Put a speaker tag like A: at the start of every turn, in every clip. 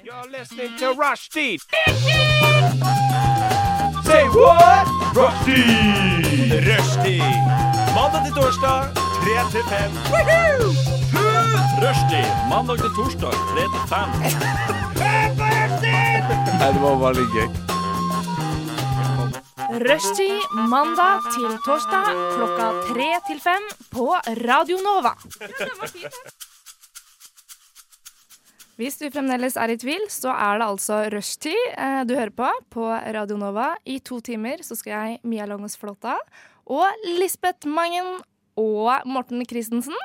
A: You're listening to Rushdie. Say what? Rushdie. Rushdie. Mandag til torsdag, 3 til 5. Rushdie. Mandag til torsdag, 3 til 5. det var veldig gøy.
B: Rushtid mandag til torsdag klokka tre til fem på Radio Nova. Hvis du fremdeles er i tvil, så er det altså rushtid eh, du hører på på Radio Nova. I to timer så skal jeg, Mia Langås Flåta, og Lisbeth Mangen og Morten Christensen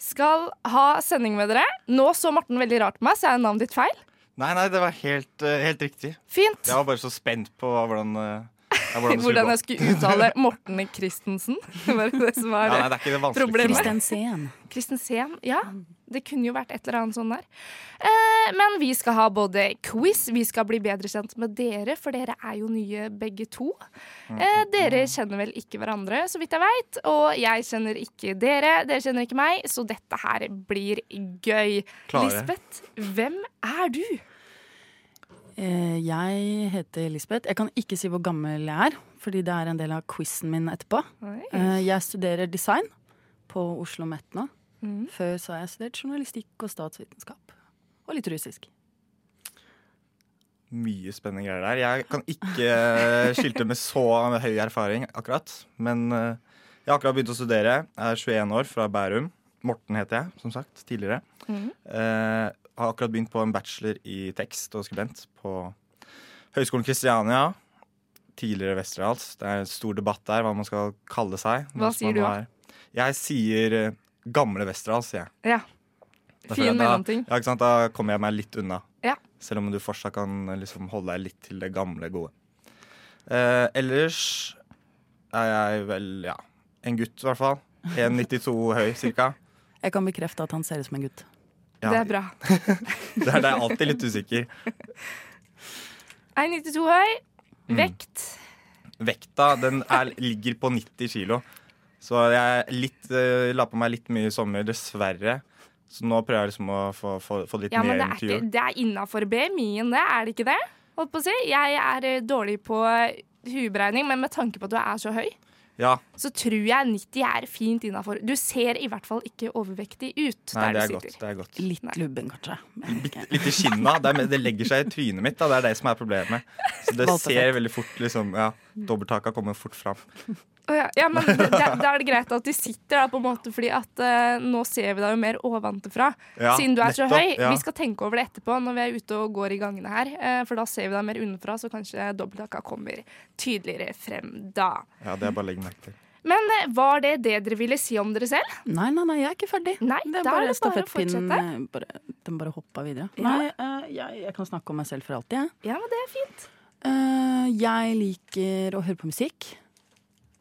B: skal ha sending med dere. Nå så Morten veldig rart på meg, så er navnet ditt feil.
C: Nei, nei, det var helt, eh, helt riktig.
B: Fint.
C: Jeg var bare så spent på hva- hvordan, eh, ja, hvordan det skulle
B: Hvordan
C: gå.
B: jeg skulle uttale Morten Christensen. Det var det som var
C: Ja, nei, det er ikke det vanskeligste.
B: Problemet.
C: navnet.
D: Kristensen.
B: Kristensen, ja. Det kunne jo vært et eller annet sånn der. Eh, men vi skal ha både quiz, vi skal bli bedre kjent med dere, for dere er jo nye begge to. Eh, dere kjenner vel ikke hverandre, så vidt jeg veit, og jeg kjenner ikke dere. Dere kjenner ikke meg, så dette her blir gøy.
C: Klare.
B: Lisbeth, hvem er du?
D: Eh, Jeg heter Lisbeth. Jeg kan ikke si hvor gammel jeg er, fordi det er en del av quizen min etterpå. Eh, Jeg studerer design på Oslo Metna.
B: Mm.
D: Før så har jeg studert journalistikk og statsvitenskap. Og litt russisk.
C: Mye spennende greier der. Jeg kan ikke eh, skilte med så høy erfaring akkurat. Men eh, jeg har akkurat begynt å studere. Jeg er 21 år, fra Bærum. Morten heter jeg, som sagt, tidligere.
B: Mhm.
C: Eh, har akkurat begynt på en bachelor i tekst og skribent på Høgskolen Kristiania. Tidligere Westerdals. Det er en stor debatt der hva man skal kalle seg.
B: Hva
C: hvis man
B: sier du
C: nå
B: da?
C: er- Jeg sier eh, Gamle Westerdals, sier jeg.
B: Ja.
C: Da føler
B: Fin
C: jeg at
B: mellomting.
C: Da, ja, ikke sant? da kommer jeg meg litt unna.
B: Ja.
C: Selv om du fortsatt kan eh, liksom, holde deg litt til det gamle, gode. Eh, ellers er jeg vel ja, en gutt, i hvert fall. 1,92 høy, cirka.
D: Jeg kan bekrefte at han ser ut som en gutt.
C: Ja,
B: Det er bra.
C: det er, det er alltid litt usikker.
B: 1,92 høy. Vekt.
C: Vekta den er, ligger på 90 kilo. Så jeg er litt, eh, la på meg litt mye i sommer, dessverre. Så nå prøver jeg liksom å få, få, få litt
B: Ja, men
C: mer
B: det
C: enn
B: er,
C: til
B: ikke,
C: jul.
B: det er innafor BMI-en, det, er det ikke det? Holdt på å si. Jeg er eh, dårlig på hueberegning, men med tanke på at du er så høy,
C: Ja,
B: så tror jeg 90 er fint innafor. Du ser i hvert fall ikke overvektig ut
C: nei,
B: der
C: det
B: du
C: er
B: sitter.
C: godt. Det er godt.
D: Litt
B: Nei.
D: lubben, kanskje. Men
C: Bitt-
D: ikke-
C: Litt i kinna. Det, er, det legger seg i trynet mitt. Da. Det er det som er problemet. Så det
D: Valgte
C: ser veldig fort liksom, ja, Dobbelttaka kommer fort fram.
B: Å ja, ja, men det- Da da er det greit at du sitter der, på en måte, fordi at eh, nå ser vi deg jo mer ovenfra.
C: Ja,
B: siden du er så
C: nettopp,
B: høy.
C: ja.
B: Vi skal tenke over det etterpå når vi er ute og går i gangene her. eh, For da ser vi deg mer underfra, så kanskje dobbelthaka kommer tydeligere frem da.
C: Ja, det er bare å legge merke til.
B: Men eh, var det det dere ville si om dere selv?
D: Nei, nei, nei, jeg er ikke ferdig.
B: Nei,
D: det er
B: da er
D: bare
B: det bare å
D: stafettpinnen eh, bare, Den bare hoppa videre. Nei, eh, jeg, jeg kan snakke om meg selv for alltid, jeg.
B: Ja, men det er fint.
D: Eh, jeg liker å høre på musikk.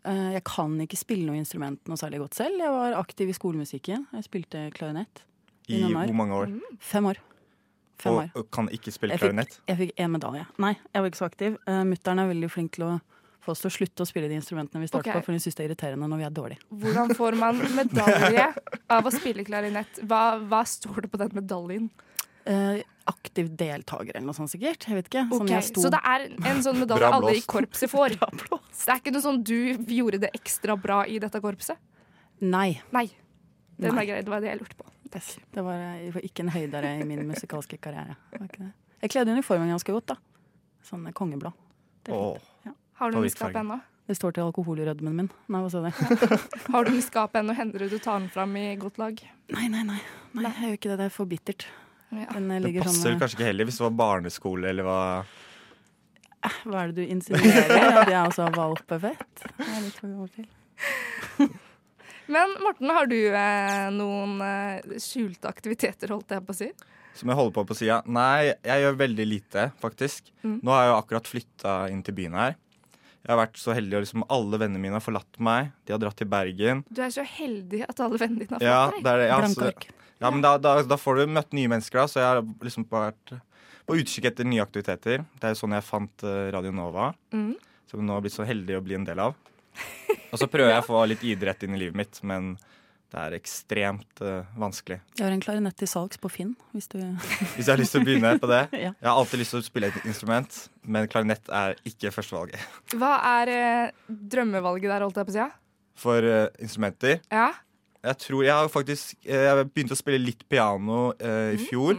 D: Eh, jeg kan ikke spille noe instrument noe særlig godt selv. Jeg var aktiv i skolemusikken. Jeg spilte klarinett.
C: I
D: Innom her.
C: hvor mange år?
D: Fem år. Mm, Fem år.
C: Og, og kan ikke spille
D: Jeg fikk-
C: klarinett?
D: Jeg fikk én medalje. Nei, jeg var ikke så aktiv. Uh, Mutter'n er veldig flink til å få oss til å slutte å spille de instrumentene vi starter
B: Ok.
D: på, for hun syns det er irriterende når vi er dårlige.
B: Hvordan får man medalje av å spille klarinett? Hva, hva står det på den medaljen?
D: Eh, aktiv deltaker eller noe sånt sikkert. Jeg vet ikke. Sånn
B: Ok,
D: jeg sto
B: Så det er en sånn medalje
C: Bra
B: alle i
C: blåst.
B: korpset får? Det er ikke noe sånn du gjorde det ekstra bra i dette korpset?
D: Nei.
B: Nei. Den
D: Nei.
B: er grei, det var det jeg lurte på.
D: Yes. Det var eh, det var ikke en høydere i min musikalske karriere. Det var ikke det. Jeg kledde uniformen ganske godt, da. Sånn eh, kongeblå. Det, er fint.
C: Åh,
B: Har du
C: Favorittfarge.
B: muskap ennå?
D: det står til alkoholrødmen min. Nei, hva sa du?
B: Har du muskap ennå? Hender det du tar den fram i godt lag?
D: Nei, nei, nei. nei jeg gjør ikke det. Det er for bittert.
B: Ja.
D: Den eh,
C: det
D: ligger
C: passer
D: sånn eh,
C: kanskje ikke heller hvis det var barneskole eller hva
D: Hva er det du insinuerer? At jeg også har valpefett? Det er litt for gammel til.
B: Men Morten, har du eh, noen eh, skjulte aktiviteter, holdt jeg på å si?
C: som jeg holder på på sida. Nei, jeg gjør veldig lite, faktisk.
D: Mm.
C: Nå har jeg jo akkurat flytta inn til byen her. Jeg har vært så heldig, og liksom alle vennene mine har forlatt meg. De har dratt til Bergen.
B: Du er så heldig at alle vennene dine har fått
C: Ja,
B: deg.
C: det er det. Ja,
D: Blanke
C: så-
D: ark.
C: Ja, men da, da, da får du møtt nye mennesker, da. Så jeg har liksom vært på utkikk etter nye aktiviteter. Det er jo sånn jeg fant eh, Radio Nova,
B: Mhm.
C: som jeg nå har blitt så heldig å bli en del av. Og så prøver jeg å få litt idrett inn i livet mitt, men det er ekstremt eh, vanskelig.
D: Jeg har en klarinett til salgs på Finn. Hvis du
C: Hvis jeg har lyst til å begynne på det.
D: Ja.
C: Jeg har alltid lyst til å spille et instrument, men klarinett er ikke førstevalget.
B: Hva er eh, drømmevalget der, holdt jeg på å si? ja?
C: For eh, instrumenter
B: Ja.
C: Jeg tror jeg har faktisk eh, Jeg begynte å spille litt piano eh,
B: Mm.
C: i fjor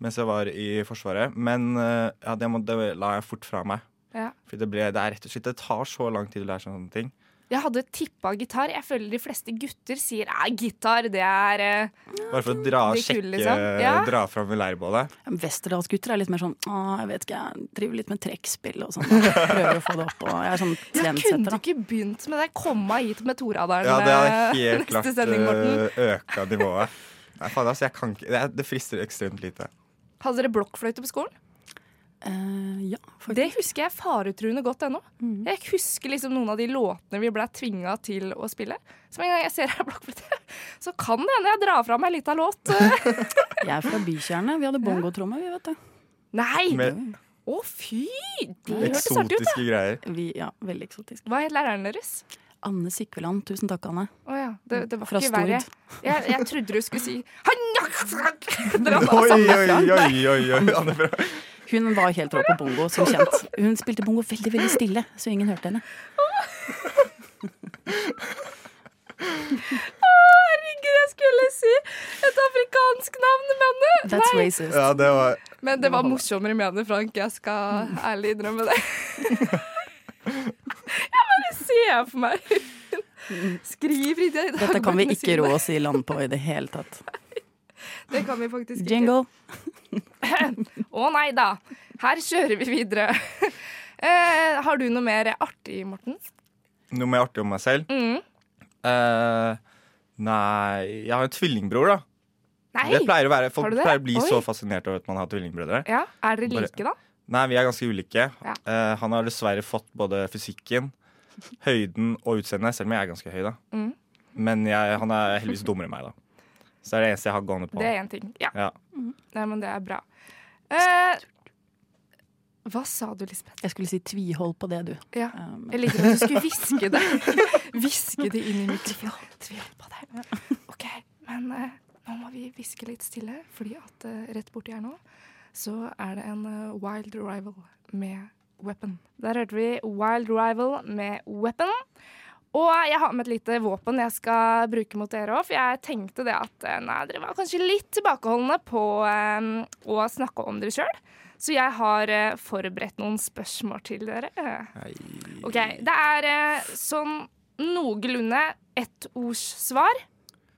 C: mens jeg var i Forsvaret, men eh, ja, det, må, det la jeg fort fra meg.
B: Ja.
C: For det, ble, det er rett og slett Det tar så lang tid å lære seg sånne ting.
B: Jeg hadde tippa gitar. Jeg føler de fleste gutter sier «Nei, gitar, det er eh,
C: Bare for å dra,
B: Det er
C: sjekke, eh,
B: kul, liksom. Ja.
C: dra fram ved leirbålet.
D: Westerdalsgutter er litt mer sånn Å, jeg vet ikke, jeg driver litt med trekkspill og sånn. Prøver å få det opp. Og jeg er sånn
B: Jeg kunne du
D: trendsetter, da.
B: ikke begynt med det? Komma hit med Toradaren
C: Ja, det hadde
B: eh,
C: helt
B: neste
C: klart
B: sending, Morten.
C: eh, øka nivået. Nei, faen, altså, jeg kan ikke det, er- det frister ekstremt lite.
B: Hadde dere blokkfløyte på skolen?
D: Eh, ja,
B: Det
D: faktisk.
B: husker jeg faretruende godt ennå.
C: Mm.
B: Jeg husker liksom noen av de låtene vi ble tvinga til å spille. Så med en gang jeg ser ei blokkfløyte, så kan det hende jeg drar fra meg ei lita låt.
D: Jeg er fra bykjernet. Vi hadde bongotromme, vi, vet du.
B: Nei!
C: Med
B: Å, fy! Det hørtes artig ut, da.
C: eksotiske greier.
D: Vi, ja, veldig eksotisk.
B: Hva het læreren deres?
D: Anne Sikveland. Tusen takk, Anne.
B: Å ja, det, det var
D: Fra
B: ikke
D: Stord.
B: verre. Jeg, jeg trodde du skulle si Dere hadde
C: Oi,
B: samme
C: oi,
B: fra.
C: oi, oi, oi. Anne Bra.
D: Hun var helt rå på bongo, som kjent. Hun spilte bongo veldig veldig stille, så ingen hørte henne.
B: Herregud, jeg skulle si et afrikansk navn, men
D: That's racist.
C: Ja, det var
B: Men det var morsommere med det, Frank. Jeg skal ærlig innrømme det. Jeg bare ser for meg Skriver i det.
D: Dette kan vi ikke rå oss i land på i det hele tatt.
B: Det kan vi faktisk ikke.
D: Jingle.
B: Å nei da. Her kjører vi videre. Eh, har du noe mer artig, Morten?
C: noe mer artig om meg selv.
B: Mm.
C: Eh, nei Jeg har en tvillingbror, da.
B: Nei?
C: Det pleier å være,
B: Har
C: folk
B: du det?
C: pleier å bli
B: Oi.
C: så fascinert over at man har tvillingbrødre.
B: Ja, Er dere
C: Bare-
B: like, da?
C: Nei, vi er ganske ulike.
B: Ja.
C: Eh, han har dessverre fått både fysikken, høyden og utseendet, selv om jeg er ganske høy, da.
B: Mm.
C: Men jeg, han er heldigvis dummere enn meg, da. Så det er det eneste jeg har gående på.
B: Det er én ting. Ja.
C: Ja.
B: Nei, men det er bra. Eh, hva sa du, Lisbeth?
D: Jeg skulle si tvihold på det, du.
B: Ja.
D: Eh, men-
B: Jeg liker at du skulle hviske det. Hviske det inn i mikrofonen. Tvil på det. OK, men eh, nå må vi hviske litt stille, fordi at eh, rett borti her nå så er det en eh, Wild Rival med Weapon. Der hørte vi Wild Rival med Weapon. Og jeg har med et lite våpen jeg skal bruke mot dere òg, for jeg tenkte det at eh, nei, dere var kanskje litt tilbakeholdne på eh, å snakke om dere sjøl. Så jeg har eh, forberedt noen spørsmål til dere. OK. Det er eh, sånn noenlunde ettordssvar.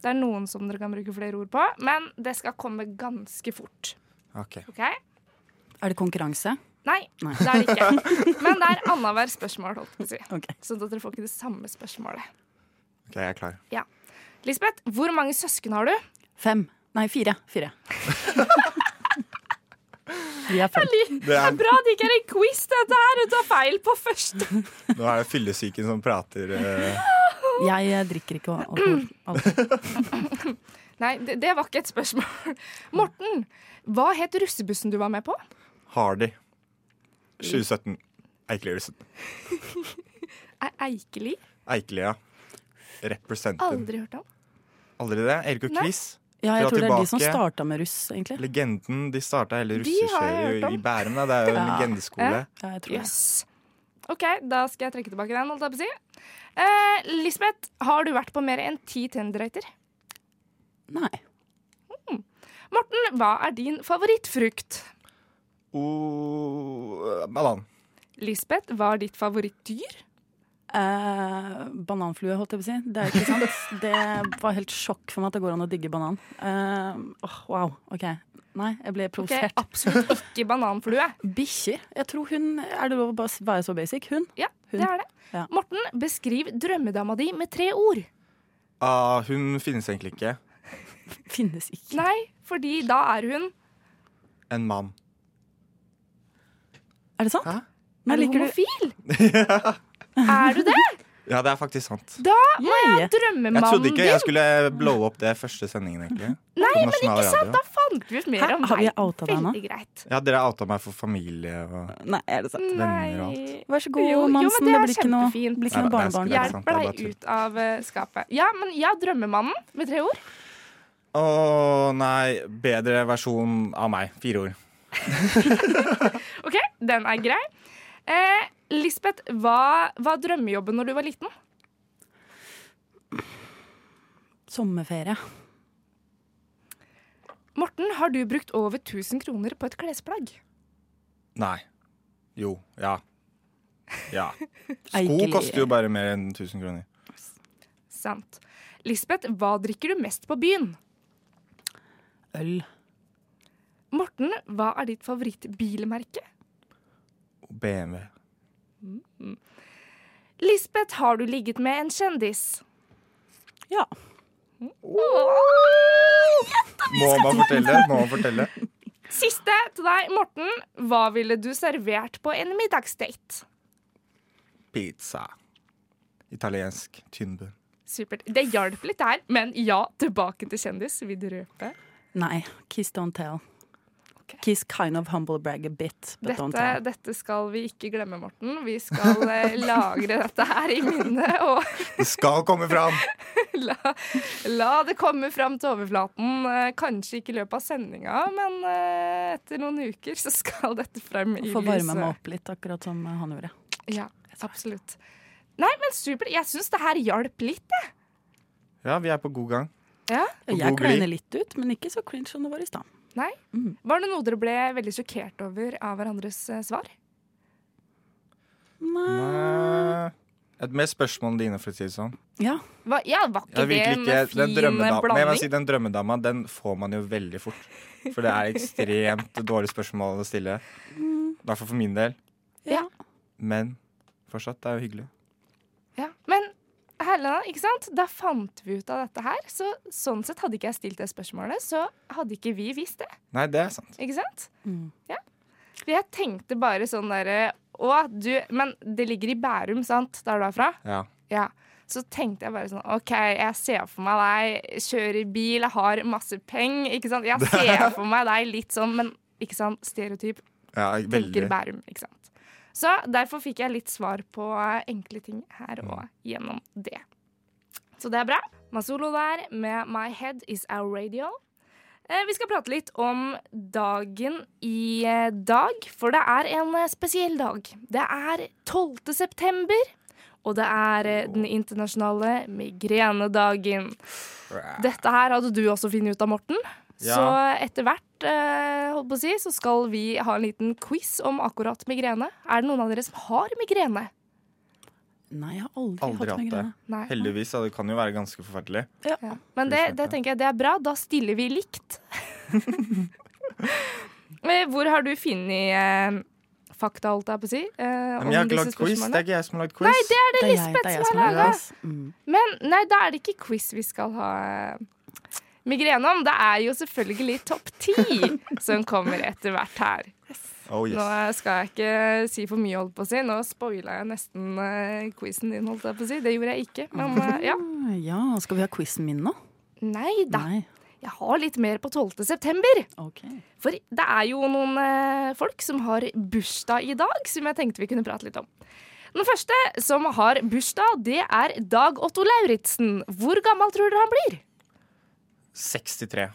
B: Det er noen som dere kan bruke flere ord på, men det skal komme ganske fort.
C: Ok.
B: OK?
D: Er det konkurranse?
B: Nei,
D: Nei.
B: det er det ikke. Men det er annethvert spørsmål, holdt jeg på å si.
D: Ok.
B: Så dere får ikke det samme spørsmålet.
C: ok, jeg er klar.
B: Lisbeth, hvor mange søsken har du?
D: Fem. Nei, fire. Fire. Vi er fem.
C: Det er,
B: Bra det ikke er en quiz, dette her! Du tar feil på første.
C: nå er det fyllesyken som prater. eh.
D: Jeg eh, drikker ikke alkohol. alkohol.
B: Nei, det, det var ikke et spørsmål. Morten, hva het russebussen du var med på?
C: Hardy. 2017. Eikeli Russen.
B: Er Eikeli?
C: Eikelia. Represented.
B: Aldri hørt om.
C: Aldri det? Erik og
B: Nei.
C: Chris.
D: Ja, jeg
C: Dra
D: tror det er de som
C: tilbake.
D: starta med russ, egentlig.
C: Legenden. De starta hele
B: De har jeg hørt
C: russekjøret
B: om.
C: i Bærum. Da. Det er jo en
D: Ja.
C: legendeskole.
D: Ja, jeg tror det.
B: Jøss. OK, da skal jeg trekke tilbake den. holdt jeg på å si. Eh, Lisbeth, har du vært på mer enn ti Tinder-dater?
D: Nei.
B: Morten, hva er din favorittfrukt?
C: Oh, banan.
B: Lisbeth, hva er ditt favorittdyr?
D: Eh, bananflue, holdt jeg på å si. Det er ikke sant. Det var helt sjokk for meg at det går an å digge banan. Eh, åh, wow. OK. Nei, jeg ble
B: Ok, ah,
D: provosert.
B: absolutt ikke bananflue.
D: Bikkjer. Jeg tror hun Er det lov å bare være så basic? Hun?
B: Ja,
D: Hun.
B: det er det.
D: Ja.
B: Morten, beskriv drømmedama di med tre ord.
C: Ah, hun finnes egentlig ikke.
D: Finnes ikke.
B: Nei, fordi da er hun
C: En mann.
D: Er det sant?
C: Hæ?
D: Nei,
B: er du
D: liker du
B: homofil. Er du det?
C: Ja, det er faktisk sant.
B: Da var
D: Yay.
C: Jeg
B: jeg drømmemannen
C: trodde
B: din!
C: ikke jeg skulle blowe opp det første sendingen, egentlig.
B: Nei,
C: på
B: men
C: nasjonal
B: ikke sant?
C: radio.
B: Da fant vi ut mer
D: Hæ?
B: om
D: Har vi
B: deg.
D: outa deg nå?
B: Veldig greit.
C: Ja, dere outa meg for familie og
D: Nei, er det sant?
C: Venner og alt.
B: Nei.
D: Vær så god,
B: Mm. Jo, jo, men
D: Mansen.
B: det
D: Det,
B: er
D: blir ikke noe,
B: kjempefint.
D: blir
C: Nei,
D: ikke
C: det
D: noe
C: er
D: barnebarn.
C: Det er sant, det er
B: Hjelper
C: bare
B: deg
C: tull.
B: ut av eh, skapet. Ja, men ja, drømmemannen med tre ord.
C: Å nei, bedre versjon av meg. Fire ord.
B: Ok, den er grei. Eh, Lisbeth, hva var drømmejobben når du var liten?
D: Sommerferie.
B: Morten, har du brukt over 1000 kroner på et klesplagg?
C: Nei. Jo. Ja. Ja. Sko
D: Eikeli-
C: koster jo bare mer enn 1000 kroner.
B: Sant. Lisbeth, hva drikker du mest på byen?
D: Øl.
B: Morten, hva er ditt favorittbilmerke?
C: BMW.
B: Lisbeth, har du ligget med en kjendis?
D: Ja.
C: Må man fortelle? Må man fortelle?
B: Siste til deg, Morten. Hva ville du servert på en middagsdate?
C: Pizza. Italiensk. Tynnbunn.
B: Supert. Det hjalp litt der, men ja, tilbake til kjendis. Vil du røpe?
D: Nei. Kiss don't tell.
B: Ok.
D: Kiss kind of humble brag a bit, but don't
B: Dette,
D: tell.
B: dette skal vi ikke glemme, Morten. Vi skal eh, lagre dette her i minnet og
C: Det skal komme fram!
B: la, la det komme fram til overflaten. Eh, Kanskje ikke i løpet av sendinga, men eh, etter noen uker så skal dette frem i
D: Få varma meg
B: lyset.
D: opp litt, akkurat som han gjorde.
B: Ja, absolutt. Nei, men supert. Jeg syns det her hjalp litt, jeg.
C: Ja, vi er på god gang.
B: Ja.
C: Og
D: Jeg
C: god
D: kleiner
C: glid.
D: litt ut, men ikke så cringe som det var i stad.
B: Nei.
D: Mm.
B: Var det noe dere ble veldig sjokkert over av hverandres eh, svar?
C: Nei. Eh, Et mer spørsmål enn dine, for å si det sånn.
D: Ja.
B: Hva, ja, var ikke
C: Jeg
B: det
C: virkelig
B: en
C: ikke, den
B: fin eh,
C: drømmedama, men jeg må
B: blanding?
C: si, den drømmedama den får man jo veldig fort. For det er ekstremt dårlig spørsmål å stille. I hvert fall for min del.
B: Mm. Ja.
C: Men fortsatt, det er jo hyggelig.
B: Ja, men Helena, ikke sant? Da fant vi ut av dette her. Så sånn sett hadde ikke jeg stilt det spørsmålet, så hadde ikke vi visst det.
C: Nei, det er sant.
B: Ikke sant?
D: Mm.
B: Ja. For jeg tenkte bare sånn derre Å, du Men det ligger i Bærum, sant? Der du er fra?
C: Ja.
B: Ja. Så tenkte jeg bare sånn OK, jeg ser for meg deg kjører i bil, jeg har masse peng, ikke sant? Jeg ser for meg deg litt sånn, men ikke sant? Stereotyp
C: ja
B: tenker
C: veldig.
B: Bærum, ikke sant. Så derfor fikk jeg litt svar på eh, enkle ting her og gjennom det. Så det er bra. Masolo der med My Head Is Our Radio. Eh, Vi skal prate litt om dagen i eh, dag, for det er en eh, spesiell dag. Det er 12. september, og det er eh, den internasjonale migrenedagen. Dette her hadde du også funnet ut av, Morten.
C: Ja.
B: Så etter hvert eh, holdt på å si, så skal vi ha en liten quiz om akkurat migrene. Er det noen av dere som har migrene?
D: Nei, jeg har aldri,
C: Aldri
D: hatt
C: hatt det.
D: migrene.
B: Nei.
C: Heldigvis, da. Det kan jo være ganske forferdelig.
B: Ja. Men det, det tenker jeg det er bra. Da stiller vi likt. Eh, Hvor har du funnet eh, fakta, holdt jeg på å si? eh,
C: Men
B: om
C: jeg har ikke
B: disse
C: lagd quiz.
B: spørsmålene?
C: Det er ikke jeg som har lagd quiz. Nei,
B: Det er det
D: Det er jeg, det
B: Lisbeth
D: er jeg
B: som
D: som
B: har
D: har
B: laga.
D: quiz. Mm.
B: Men nei, da er det ikke quiz vi skal ha eh, migrene om. Det er jo selvfølgelig topp ti som kommer etter hvert her.
C: Oh, yes.
B: Nå skal jeg ikke si for mye, holdt på å si. Nå spoila jeg nesten uh, quizen din, holdt jeg på å si. Det gjorde jeg ikke, men eh, ja.
D: Mm. Ja, skal vi ha quizen min nå?
B: Nei da.
D: Nei.
B: Jeg har litt mer på 12. september.
D: Ok.
B: For det er jo noen eh, folk som har bursdag i dag, som jeg tenkte vi kunne prate litt om. Den første som har bursdag, det er Dag Otto Lauritzen. Hvor gammel tror dere han blir?
C: 63.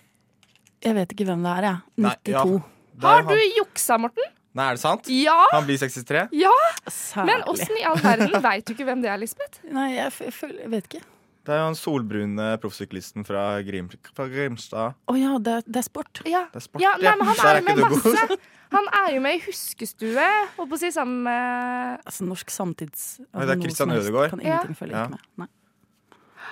D: Jeg vet ikke hvem det er, jeg.
C: Nei,
D: 92.
C: ja. Der
B: Har
C: har-
B: du juksa, Morten?
C: Nei, er det sant?
B: Ja!
C: Han blir 63?
B: Ja!
D: Særlig.
B: Men åssen i all verden veit du ikke hvem det er, Lisbeth?
D: Nei, jeg, f føl- jeg vet ikke.
C: Det er jo han solbrune proffsyklisten fra, Grim, fra Grimstad.
D: Å ja, det, er- det er sport.
B: Ja.
C: Det er sport,
B: ja, nei,
C: ja.
B: men han
C: Der
B: er
C: er
B: jo
C: ikke
B: med
C: du god.
B: masse. Han er jo med i Huskestue, holdt på å si, sammen med
D: Altså norsk samtids...
C: Oi, det er
D: altså, noe
C: Christian
D: som helst
C: Ødegaard.
D: Kan
B: Ja.
D: ingenting følge
C: Ja.
D: med. Nei.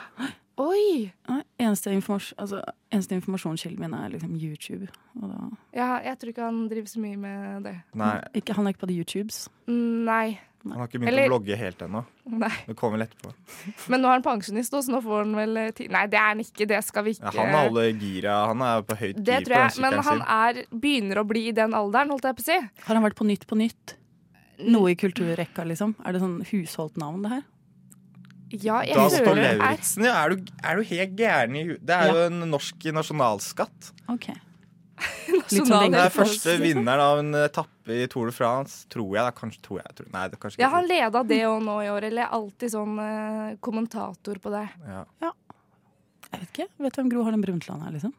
B: Oi!
D: Nei, Eneste, informas altså, eneste informasjonskilden min er liksom YouTube. Og da,
B: Ja, jeg tror ikke han driver så mye med det.
C: Nei,
D: ikke, han er ikke på the YouTubes.
B: Nei.
C: han har ikke begynt
B: Eller-
C: å vlogge helt ennå.
B: Nei.
C: Det kommer vel etterpå.
B: Men nå er han pensjonist, nå, så nå får han vel eh, ti Nei, det er han ikke. Det skal vi ikke
C: Ja, han holder gira. Han er på høyt
B: Det
C: gir
B: tror
C: på den
B: jeg. Men
C: sykkelen
B: han
C: sin.
B: er, begynner å bli i den alderen, holdt jeg på å si.
D: Har han vært på Nytt på Nytt? Noe i kulturrekka, liksom? Er det sånn husholdt navn, det her?
B: Ja, jeg
C: Dag
B: føler det er
C: Lauritzen, ja. Er du, er du helt gæren i huet? Det er
D: Ja.
C: jo en norsk nasjonalskatt.
D: Ok. Litt
B: nasjonal-
D: sånn som
C: Det
D: Bengt
C: er første vinneren av en eh, etappe i Tour de France, tror jeg. Da. Kanskje, tror jeg, tror. Nei, det er kanskje
B: Jeg
C: ikke.
B: har leda det òg nå i år, eller jeg er alltid sånn eh, kommentator på det.
D: Jeg vet ikke. Vet du hvem Gro Harlem Brundtland er, liksom?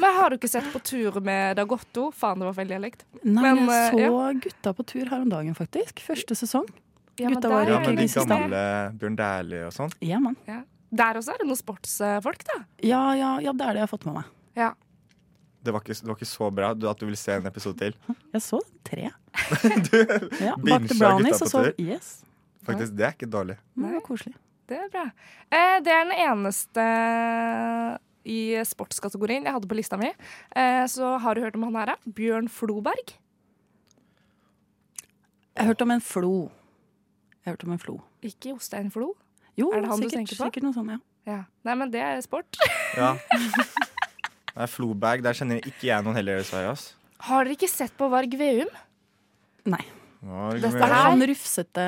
B: Men har du ikke sett på tur med Dagotto? Faen, det var feil dialekt.
D: Nei,
B: Men,
D: men jeg
B: eh,
D: så
B: ja.
D: Gutta på tur her om dagen, faktisk. Første sesong.
B: Ja, men
D: Gutta
B: der
D: var
B: er liksom
C: Ja,
B: jeg
D: jo
C: men de
B: ikke med.
C: gamle Bjørn Dæhlie og sånn.
D: Ja, mann.
B: Ja. Der også er det noen sportsfolk, da.
D: Ja, ja, ja, det er det jeg har fått med meg.
B: Ja.
C: Det var, ikke, det var ikke så bra du- at du ville se en episode til.
D: Jeg så tre. Ja,
C: Binge av
D: Bakte
C: Gutta
D: brownies og
C: på
D: sov.
C: tur.
D: Yes.
C: Faktisk, Det er ikke dårlig.
D: Men Det var koselig.
B: Det er bra. Eh, det er den eneste i sportskategorien jeg hadde på lista mi. Eh, så har du hørt om han her, da? Bjørn Floberg.
D: Jeg hørte om en flo. Jeg hørte om en flo.
B: Ikke Jostein Flo.
D: Jo,
B: Er det han du
D: sikkert,
B: tenker på?
D: sikkert noe sånt, ja.
B: Ja. Nei, men det er sport.
C: Ja. Nei, Floberg, der kjenner ikke jeg noen heller, dessverre. ass.
B: Har dere ikke sett på Varg Veum?
D: Nei.
C: Nå er det ikke
B: Dette
D: Det
C: mye.
D: er
B: her-
D: han rufsete,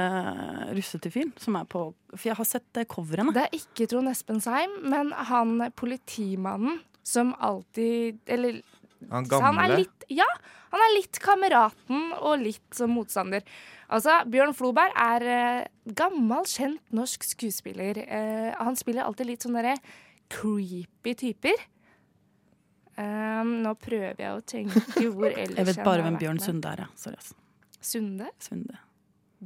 D: rufsete fyren som er på For jeg har sett eh, coverene.
B: Det er ikke Trond Espensheim, men han politimannen som alltid Eller
C: Han
B: så han er
C: gamle.
B: litt Ja, han er litt kameraten og litt som motstander. Altså, Bjørn Floberg er eh, gammel, kjent norsk skuespiller. Eh, han spiller alltid litt sånne derre creepy typer. Ehm, nå prøver jeg å tenke hvor ellers
D: Jeg vet
B: han
D: bare
B: har
D: hvem
B: vært
D: Bjørn
B: med.
D: Sunde er, ja. Sorry, ass.
B: Sunde?
D: Sunde.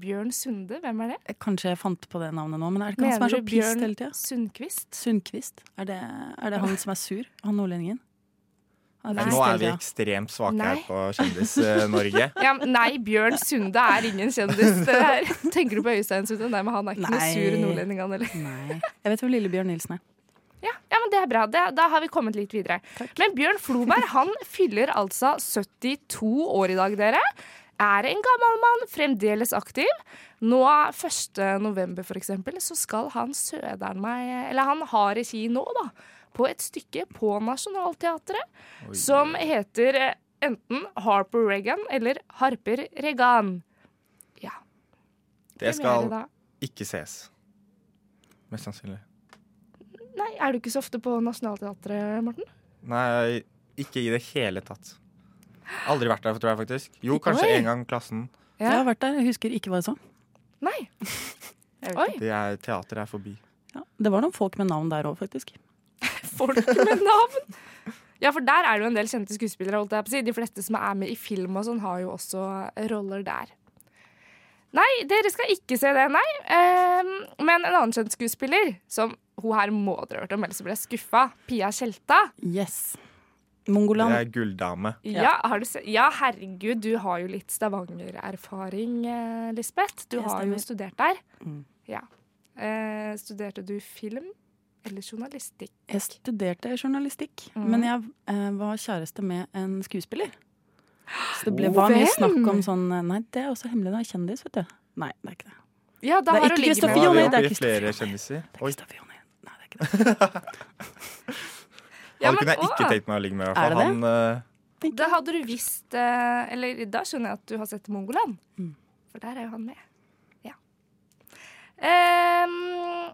B: Bjørn Sunde, hvem er det?
D: Eh, Kanskje jeg fant på det navnet nå, men er det ikke han som er så pissed hele tida?
B: Sundquist?
D: Sundquist? Er det, er det han som er sur, han nordlendingen? Han
B: Nei.
D: pissed
C: Nå er vi
D: hele tiden.
C: ekstremt svake
B: Nei.
C: her på Kjendis-Norge.
B: Ja, men nei, Bjørn Sunde er ingen kjendis. Det her. Tenker du på Øystein Sunde? Nei, men han er ikke noe
D: Nei.
B: sur nordlending, han heller.
D: Nei. Jeg vet hvem Lillebjørn Nilsen er.
B: Ja, ja, men det er bra. Det, da har vi kommet litt videre. Men Bjørn Floberg han fyller altså 72 år i dag, dere. Er en gammel mann, fremdeles aktiv. Nå 1. november, for eksempel, så skal han søderen meg Eller han har regi nå, da. På et stykke på Nationaltheatret som heter eh, enten Harper Regan eller Harper Regan. Ja.
C: Det
B: hvem er
C: skal
B: da?
C: ikke ses. Mest sannsynlig.
B: Nei, er du ikke så ofte på Nationaltheatret, Morten?
C: Nei, ikke i det hele tatt. Aldri vært der, tror jeg faktisk. Jo, kanskje
D: Oi.
C: en gang i klassen.
D: Jeg har vært der, jeg husker ikke hva jeg så.
B: Nei. Oi.
C: Det er teater er forbi.
D: Ja, det var noen folk med navn der òg, faktisk.
B: folk med navn. Ja, for der er det jo en del kjente skuespillere. holdt jeg på å si. De fleste som er med i film og sånn, har jo også roller der. Nei, dere skal ikke se det, nei. Ehm, men en annen kjent skuespiller, som hun her må dere ha hørt om, ellers blir jeg skuffa, Pia Tjelta.
D: Yes.
C: Det
D: Mongoland.
C: er gulldame.
B: Ja. har du se ja, herregud, du har jo litt Stavanger-erfaring, eh, Lisbeth. Du
D: Det
B: har jo
D: stemmer.
B: studert der.
D: Mm.
B: Ja. Eh, studerte du film eller journalistikk?
D: Jeg studerte journalistikk,
B: Mhm.
D: men jeg eh, var kjæreste med en skuespiller. Så det ble,
B: Oh.
D: var mye
B: Hvem?
D: snakk om sånn eh, Nei, det er også hemmelig, da. Kjendis, vet du. Nei, det er ikke det.
B: Ja, da
D: Det er
B: har
D: ikke
B: hun ligget
C: Nå
D: Kristoffer
B: med
D: Jonner.
C: har vi
D: det er
C: oppe i
D: Kristoffer
C: flere
D: Jonner.
C: kjendiser.
D: Det er
C: Oi,
D: Kristoffer Jonny. Nei, det er ikke det.
B: Ja,
C: han
B: men
C: kunne jeg
B: å.
C: ikke tenkt meg å ligge med. i hvert
D: Er
C: fall.
D: det
C: Han, eh,
B: Da hadde du visst eh, Eller da skjønner jeg at du har sett Mongoland.
D: Mm.
B: For der er jo han med. Ja. Ehm,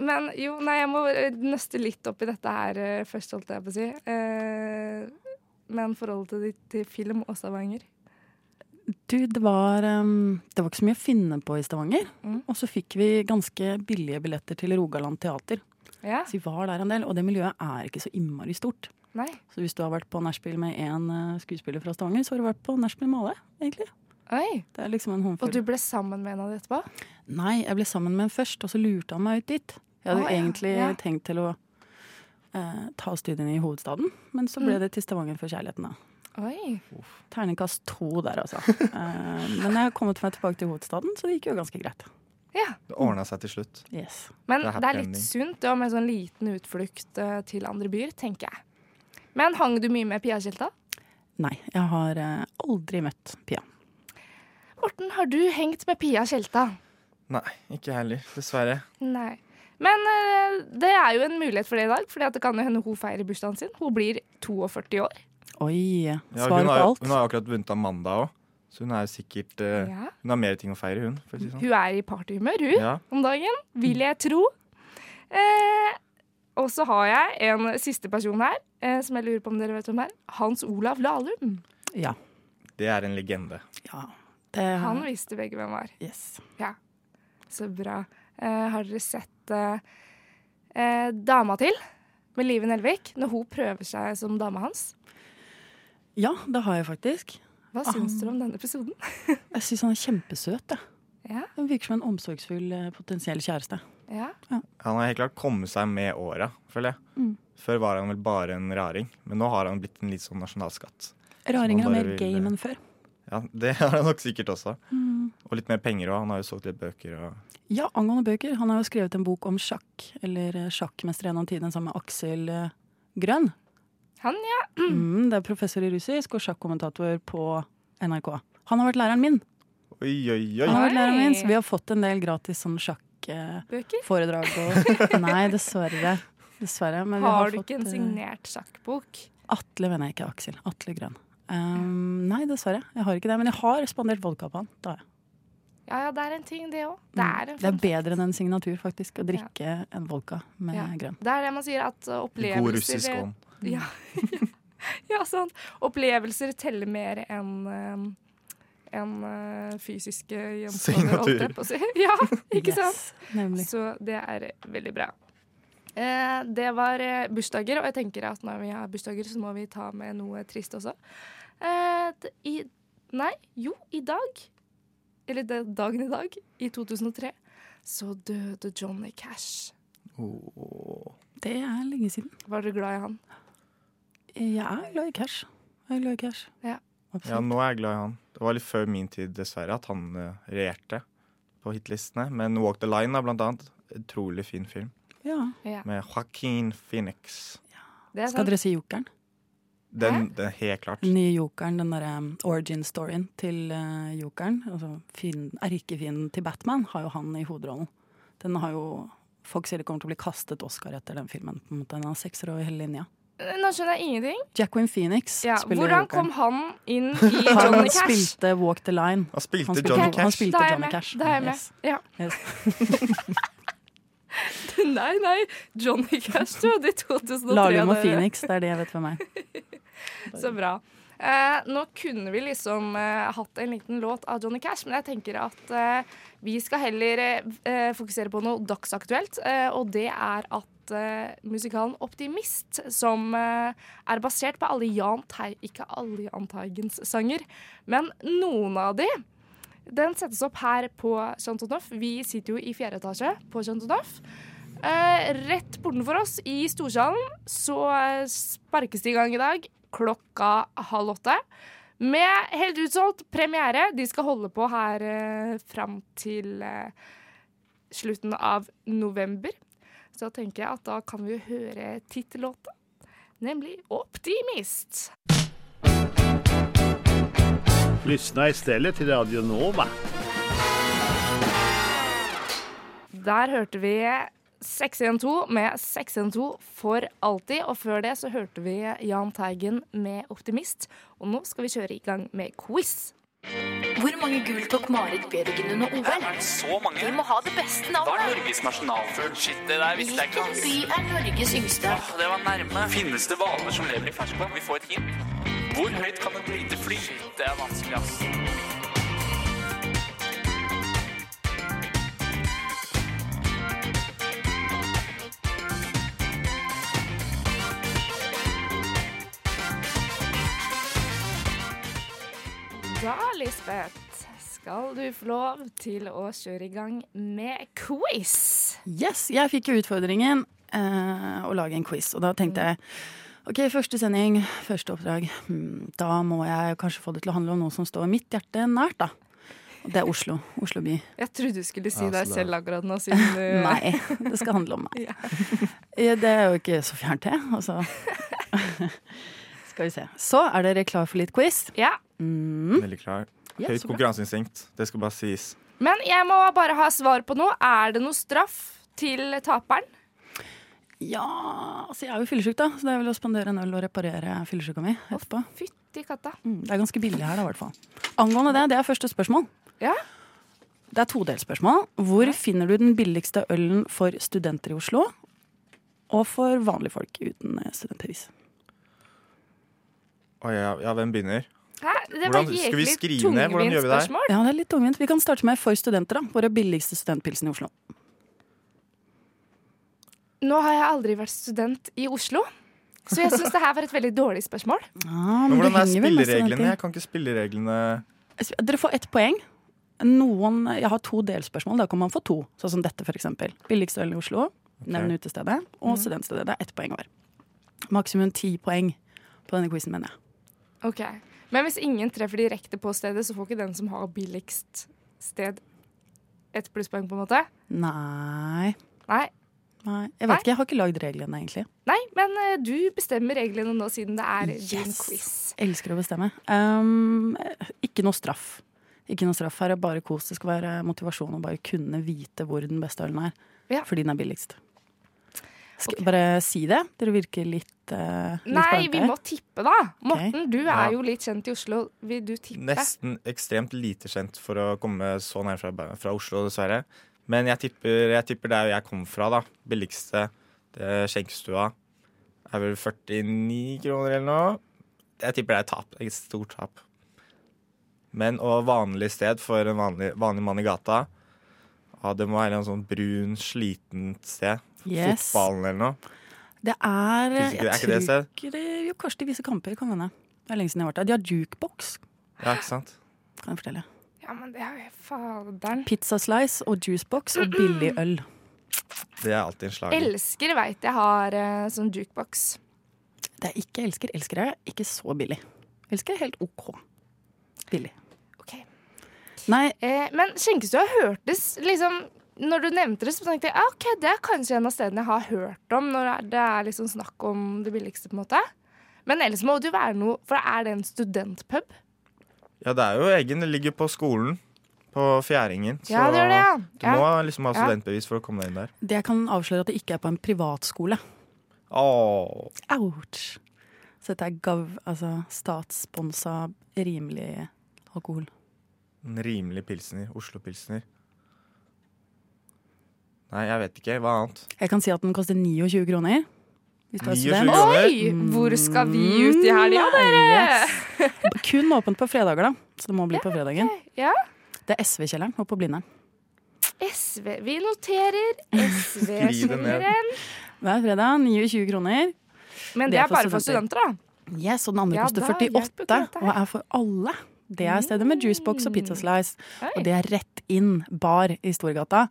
B: men jo, nei, jeg må eh, nøste litt opp i dette her eh, først, holdt jeg på å si. Eh, men forholdet til, ditt- til film og Stavanger.
D: Du, det var, ehm, det var ikke så mye å finne på i Stavanger.
B: Mm.
D: Og så fikk vi ganske billige billetter til Rogaland teater.
B: Ja?
D: Så vi var der en del, og det miljøet er ikke så innmari stort.
B: Nei?
D: Så hvis du har vært på nachspiel med én eh, skuespiller fra Stavanger, så har du vært på nachspiel med alle, egentlig.
B: Oi.
D: Det er liksom en håndfull.
B: Og du ble sammen med en av de etterpå?
D: Nei, jeg ble sammen med en først, og så lurte han meg ut dit. Jeg hadde
B: Å, ja,
D: egentlig
B: ja.
D: tenkt til å eh, ta studiene i hovedstaden, men så
B: Mm.
D: ble det til Stavanger for kjærligheten, da.
B: Oi.
D: Terningkast to der, altså. Eh, men jeg har kommet meg tilbake til hovedstaden, så det gikk jo ganske greit.
B: Ja.
C: det ordna eh, seg til slutt.
D: Yes.
B: Men
C: Det er
B: det
C: happy
B: er, litt
C: ending.
B: sunt det, å ha med sånn liten utflukt eh, til andre byer, tenker jeg. Men hang du mye med Pia Tjelta?
D: Nei, jeg har eh, aldri møtt Pia.
B: Morten, har du hengt med Pia Tjelta?
C: Nei, ikke jeg heller, dessverre.
B: Nei. Men eh, det er jo en mulighet for det i dag, for det kan jo hende hun feirer bursdagen sin. Hun blir 42 år.
D: Oi,
C: Ja,
D: svaret
C: hun,
D: på
C: har, jo-
D: alt.
C: hun har jo akkurat vunnet Amanda òg. Så hun er sikkert eh,
B: Ja.
C: Hun har mer ting å feire, hun. For å si det sånn.
B: Hun er i partyhumør, hun,
C: Ja.
B: om dagen, vil jeg tro. Eh, og så har jeg en siste person her, eh, som jeg lurer på om dere vet hvem er. Hans Olav Lahlum.
D: Ja.
C: Det er en legende.
D: ja. Det,
B: Han visste begge hvem var.
D: Yes.
B: Så bra. Eh, har dere sett eh, eh, Dama til med Live Nelvik, når hun prøver seg som dama hans?
D: Ja, det har jeg faktisk.
B: Hva syns dere om denne episoden?
D: Jeg syns han er kjempesøt. Jeg.
B: Ja,
D: Han virker som en omsorgsfull eh, potensiell kjæreste.
B: ja.
C: Han har helt klart kommet seg med åra, føler jeg. Før var han vel bare en raring, men nå har han blitt en litt sånn nasjonalskatt.
D: Raringer
C: Som han bare
D: er mer
C: vil,
D: game
C: eh,
D: enn før.
C: Ja, Det har han nok sikkert også. Og litt mer penger òg. Han har jo solgt litt bøker og
D: Ja, angående bøker. Han har jo skrevet en bok om sjakk, eller eh, sjakkmester gjennom tiden, sammen med Aksel eh, Grønn.
B: Han, ja.
D: Mm, det er professor i russisk og sjakkommentator på NRK. Han har vært læreren min.
C: Oi, oi, oi!
D: Han har vært
B: Oi.
D: læreren min, så Vi har fått en del gratis sånn sjakkforedrag.
B: Bøker?
D: og Nei, dessverre. Dessverre. Men vi har,
B: Har du ikke
D: fått,
B: en
D: eh,
B: signert sjakkbok?
D: Atle mener jeg ikke Aksel. Atle Grønn. Um, nei, dessverre. Jeg har ikke det. Men jeg har spandert vodka på han. Det, har jeg.
B: Ja ja, det er en ting, det òg. Det er en
D: Mm, det
B: fun
D: er bedre enn en signatur, faktisk, å drikke en vodka med
B: Ja.
D: grønn.
B: Det er det man sier at uh,
C: I
B: opplevelser
C: god russisk ånd.
B: Ja, ja sant. Opplevelser teller mer enn um, enn, uh, fysiske gjenstander. holdt jeg
C: Signaturer.
B: på å si. Ja, ikke sant?
D: Yes, nemlig.
B: Så det er veldig bra. Eh, det var eh, bursdager, og jeg tenker at når vi har bursdager, så må vi ta med noe trist også. Eh, d- i, nei, jo, i dag, eller det, er dagen i dag, i 2003, så døde Johnny Cash.
C: Åh.
D: Det er lenge siden.
B: Var dere glad i han?
D: Jeg er glad i cash. Jeg er glad i cash.
B: Ja.
C: Ja,
D: Absolutt.
C: nå er jeg glad i han. Det var litt før min tid, dessverre, at han eh, regjerte på hitlistene. Men Walk the Line, da, blant annet. Utrolig fin film.
D: Ja.
B: Ja,
C: Med Joaquin Phoenix.
B: det er
D: Skal
B: sant.
D: dere si Jokeren?
C: Den, den helt klart.
D: Den nye Jokeren, den derre um, origin-storyen til eh, Jokeren, altså fienden- erkefienden til Batman, har jo han i hovedrollen. Den har jo Folk sier det kommer til å bli kastet Oscar etter den filmen. på en måte. Den har sekser over hele linja.
B: Eh, Nå skjønner jeg ingenting.
D: Jacqueline Phoenix
B: Ja,
D: spiller
B: hvordan kom
D: Jokeren.
B: han inn i
D: Han
B: Johnny Cash?
D: spilte Walk the Line.
C: Han spilte
D: Han spilte-
C: Johnny
B: Ok,
D: han
C: Cash.
B: da
D: spilte-
B: er jeg
D: Johnny
B: med.
D: Cash.
B: Da er jeg med.
D: Yes.
B: Ja.
D: Yes.
B: Nei, nei. Johnny Cash døde i 2003.
D: Lahlum og
B: dere.
D: Phoenix, det er det jeg vet for meg.
B: Så bra. Eh, nå kunne vi liksom eh, hatt en liten låt av Johnny Cash, men jeg tenker at eh, vi skal heller eh, fokusere på noe dagsaktuelt, eh, og det er at eh, musikalen Optimist, som eh, er basert på alle Jahn Tei... Ikke alle Jahn Teigens sanger, men noen av de. Den settes opp her på Chantonoff. Vi sitter jo i fjerde etasje på Chantonoff. Eh, rett bortenfor oss i Storsalen så eh, sparkes det i gang i dag klokka halv åtte. Med helt utsolgt premiere. De skal holde på her eh, fram til eh, slutten av november. Så da tenker jeg at da kan vi jo høre tittellåta, nemlig 'Optimist'.
E: Lyssna istället till Radio Nova.
B: Der hørte vi 612 med 612 for alltid. Og før det så hørte vi Jahn Teigen med 'Optimist'. Og nå skal vi kjøre i gang med quiz.
F: Hvor mange gull tok Marit Bjørgen under OL?
G: Så mange.
F: Vi må ha det beste
G: Hva er
F: navnet.
G: Norges nasjonalfugl? Shit, det der visste jeg ikke.
F: Hvilken by er Norges yngste?
G: ass. Det var nærme. Finnes det hvaler som lever i ferskvann? Vi får et hint. Hvor høyt kan et lite fly? Shit, det er vanskelig, ass.
B: Da, Lisbeth, skal du få lov til å kjøre i gang med quiz.
D: Yes, jeg fikk jo utfordringen eh, å lage en quiz, og da tenkte jeg OK, første sending, første oppdrag. Hmm, Da må jeg kanskje få det til å handle om noe som står mitt hjerte nært, da. Og det er Oslo. Oslo by.
B: Jeg trodde du skulle si
C: Ja,
B: deg
C: så
B: selv akkurat nå, siden du
D: Nei, det skal handle om meg. Eh, Det er jo ikke så fjernt, det. Altså. Skal vi se. Så er dere klar for litt quiz.
B: Ja.
C: Veldig klar.
D: Ja,
C: Høyt
D: så bra.
C: konkurranseinstinkt. Det skal bare sies.
B: Men jeg må bare ha svar på noe. Er det noe straff til taperen?
D: Ja, altså jeg er jo fyllesyk, da, så det er vel å spandere en øl og reparere fyllesyka mi etterpå.
B: Fytti katta.
D: Mm, Det er ganske billig her, da, i hvert fall. Angående det, det er første spørsmål.
B: Ja.
D: Det er todelsspørsmål. Hvor finner du den billigste ølen for studenter i Oslo? Og for vanlige folk uten eh, studentbevis.
C: Oi, ja, ja, hvem begynner?
B: Hæ? Det var
C: Hvordan- skal vi
B: jæklig
C: skrive ned? Hvordan gjør vi det her?
B: tungvint spørsmål.
D: Ja, det er litt tungvint. Vi kan starte med for studenter, da. Våre billigste studentpilsen i Oslo.
B: Nå har jeg aldri vært student i Oslo, så jeg syns det her var et veldig dårlig spørsmål.
D: Ja,
C: Men hvordan
D: det
C: er
D: henger vel med
C: spillereglene?
D: studenter.
C: Jeg kan ikke spillereglene
D: Dere får ett poeng. Noen, jeg har to delspørsmål. Da kan man få to. Sånn som dette, f.eks. Billigste ølen i Oslo. Nevn utestedet.
C: Mhm.
D: Og studentstedet. Det er ett poeng hver. Maksimum ti poeng på denne quizen, mener jeg.
B: Ok. Men hvis ingen treffer direkte på stedet, så får ikke den som har billigst sted, et plusspoeng, på en måte?
D: Nei.
B: Nei.
D: Nei.
B: Nei?
D: Jeg vet ikke, jeg har ikke lagd reglene, egentlig.
B: Nei, men eh, du bestemmer reglene nå, siden det er din
D: Yes.
B: quiz.
D: Elsker å bestemme. Um, ikke noe straff. Ikke noe straff her, er bare kos. Det skal være motivasjon å bare kunne vite hvor den beste ølen er.
B: Ja.
D: Fordi den er billigst. Skal
B: Ok.
D: Bare si det. Dere virker litt, uh, litt
B: Nei,
D: blanke
B: vi
D: her.
B: må tippe, da. Morten, du er jo litt kjent i Oslo. Vil du tippe?
C: Nesten ekstremt lite kjent for å komme så nær fra, Bæ- fra Oslo, dessverre. Men jeg tipper, jeg tipper der jeg kom fra, da. Billigste det skjenkestua er vel 49 kroner eller noe. Jeg tipper det er tap. Et stort tap. Men og vanlig sted for en vanlig, vanlig mann i gata ja, Det må være en sånn brun, slitent sted.
D: Yes.
C: Fotballen eller noe.
D: Det er
C: Synes ikke-
D: Jeg
C: er ikke
D: tror
C: det sted?
D: ikke det Jo, kanskje de viser kamper, kan hende. Det er lenge siden jeg har vært der. De har jukebox,
C: Ja, ikke sant?
D: kan jeg fortelle.
B: Ja, men det er jo faderen.
D: Pizza slice og juicebox og billig øl.
C: Det er alltid en slager.
B: Elsker veit jeg har eh, sånn jukebox.
D: Det er ikke elsker. Elsker er ikke så billig. Elsker er helt OK. Billig.
B: Ok.
D: Nei,
B: Eh, men skjenkestua hørtes liksom Når du nevnte det, så tenkte jeg ja, ok, det er kanskje en av stedene jeg har hørt om når det er- det er liksom snakk om det billigste, på en måte. Men ellers må det jo være noe For er det en studentpub?
C: Ja, det er jo egen. Det ligger på skolen. På Fjæringen.
B: Ja, det gjør det, ja.
C: Du
B: Ja.
C: må liksom ha
B: Ja.
C: studentbevis for å komme deg inn der.
D: det jeg kan avsløre at det ikke er på en privatskole.
C: Åh.
D: Ouch! Så dette er gav, altså statssponsa, rimelig alkohol.
C: En rimelig pilsner. Oslo-pilsner. Nei, jeg vet ikke. Hva annet?
D: Jeg kan si at den koster 29 kroner. Hvis du er
C: 29
D: student.
C: kroner?
B: Oi! Hvor skal vi ut i helga, dere?
D: Mm. Yes. Kun åpent på fredager, da. Så det må bli på fredagen.
B: Ja,
D: Det er SV-kjelleren og på Blindern.
B: SV. Vi noterer
C: Skriv det ned.
B: SV-kjelleren.
D: Hver fredag 29 kroner.
B: Men
D: Det
B: det
D: er
B: er
D: for
B: bare for
D: studenter.
B: studenter, da.
D: Yes, og den andre
B: Ja,
D: koster
B: da hjelper ikke
D: 48,
B: dette her.
D: og er for alle. Det er stedet med juicebox og pizza slice.
B: Oi.
D: Og det er rett inn bar i Storgata.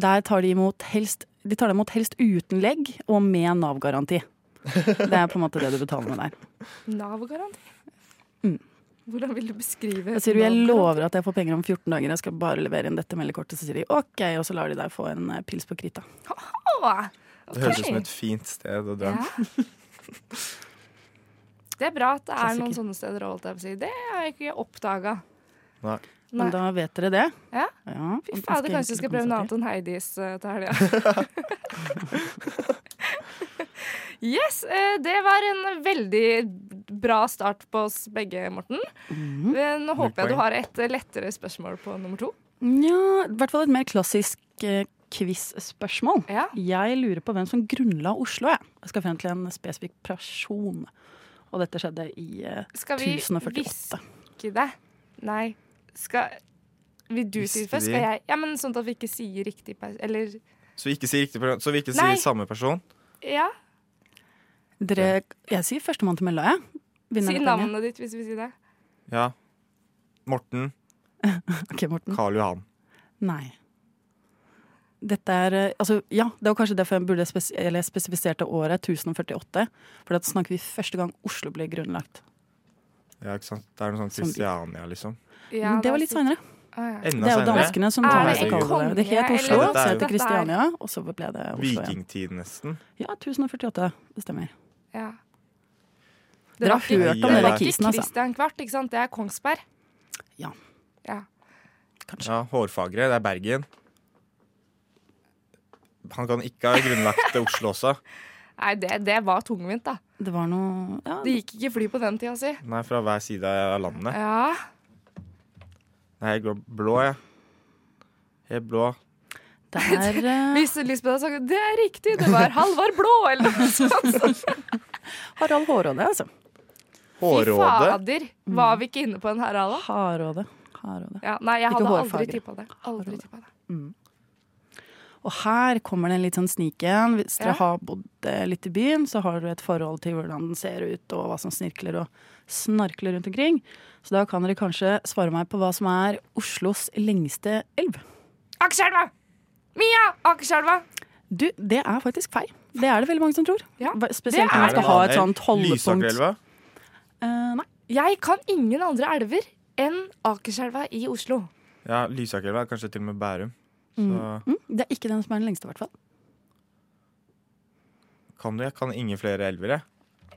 D: Der tar de imot helst de tar deg imot helst uten legg og med Nav-garanti. Det er på en måte det du betaler med der.
B: Nav-garanti. Hvordan vil du beskrive
D: Jeg Mm. sier jo, jeg
B: Nav-garanti?
D: lover at jeg får penger om 14 dager, jeg skal bare levere inn dette meldekortet. Så sier de OK, og så lar de deg få en eh, pils på krita.
B: Å,
C: Det høres ut
B: ok.
C: som et fint sted å dra.
B: Ja. Det er bra at det er noen
D: Klassiker.
B: sånne steder. holdt jeg på å si. Det har jeg ikke oppdaga.
C: Nei.
D: Men da vet dere det.
B: Ja.
D: Ja,
B: Fy
D: og
B: fader, kanskje
D: ganske
B: jeg
D: enkelt
B: skal
D: å
B: prøve noe
D: komme seg
B: annet enn Heidis eh, til helga. yes, eh, det var en veldig bra start på oss begge, Morten.
D: Mhm.
B: Men Nå håper jeg du
C: poeng.
B: har et eh, lettere spørsmål på nummer to.
D: til. Ja, i hvert fall et mer klassisk eh, quiz-spørsmål.
B: Ja.
D: Jeg lurer på hvem som grunnla Oslo. Jeg, jeg skal frem til en spesifikk person. Og dette skjedde i eh,
B: Skal vi
D: 1048.
B: hviske det? Nei. Skal Vil du si
C: Hviske
B: det først?
C: de?
B: Skal jeg? Ja, men sånn at vi ikke sier riktig pers... Eller
C: Så vi ikke sier riktig program. Så vi ikke
B: Nei.
C: sier samme person.
B: Ja.
D: Dere, jeg sier førstemann til mølla, jeg. Mm, Vinner
B: Si
D: dette poenget.
B: navnet ditt hvis vi sier det.
C: Ja. Morten
D: Ok, Morten.
C: Karl Johan.
D: Nei. Dette er eh, Altså, ja, det var kanskje derfor jeg burde spes eller spesifiserte året 1048. For da snakker vi første gang Oslo ble grunnlagt.
C: Ja, ikke sant? Det er noe sånn
D: Som-
C: Kristiania, liksom.
B: Ja,
D: Men det var litt
B: sikkert-
D: seinere.
B: Å, ja.
D: Det
C: Enda
D: er jo
C: senere.
D: danskene som
B: Er
D: tar
C: det en
D: seg av det. Det het
B: konge,
D: Oslo,
C: eller
D: så het
C: dette
D: det
B: er-
D: Kristiania, og så ble det Oslo igjen.
C: Vikingtid, nesten.
D: Ja, 1048. Det stemmer.
B: Ja.
D: Dere har
B: ikke-
D: hørt om
C: Ai,
B: det
C: ai,
D: denne
B: var
C: ai.
D: kisen,
B: ikke
D: altså.
B: Christian Kvart, ikke sant? Det er Kongsberg.
D: Ja.
B: Ja.
C: Ja, Hårfagre. Det er Bergen. Han kan ikke ha grunnlagt Oslo også.
B: Nei, det, det var tungvint, da.
D: Det var noe ja,
B: Det gikk ikke fly på den tida si.
C: Nei, fra hver side av landet.
B: Ja.
C: Nei, jeg går blå, jeg. Helt blå.
D: det er eh,
B: Hvis Lisbeth hadde sagt det er riktig, det var Halvard Blå eller noe sånt.
D: Harald Hårråde, altså.
B: Fy
C: Hårrådet.
B: fader,
D: Mm.
B: var vi ikke inne på en herala?
D: Haråde. Haråde.
B: Ja, nei, jeg
D: Ikke
B: hadde aldri
D: hårfarge.
B: tippa det. Aldri tippa det.
D: Og her kommer det en litt sånn snik igjen. Hvis
B: Ja.
D: dere har bodd eh, litt i byen, så har du et forhold til hvordan den ser ut, og hva som snirkler og snarkler rundt omkring. Så da kan dere kanskje svare meg på hva som er Oslos lengste elv.
B: Akerselva! Mia Akerselva!
D: Du, det er faktisk feil. Det er det veldig mange som tror.
B: Ja,
D: Hva-
B: det
D: Spesielt når
B: er
D: man skal ha et sånt holdepunkt.
C: Lysakerelva.
D: Eh, nei.
B: Jeg kan ingen andre elver enn Akerselva i Oslo.
C: Ja, Lysakerelva er kanskje til og med Bærum. Så
D: Mm, det er ikke den som er den lengste, i hvert fall.
C: kan du, jeg kan ingen flere elver, jeg.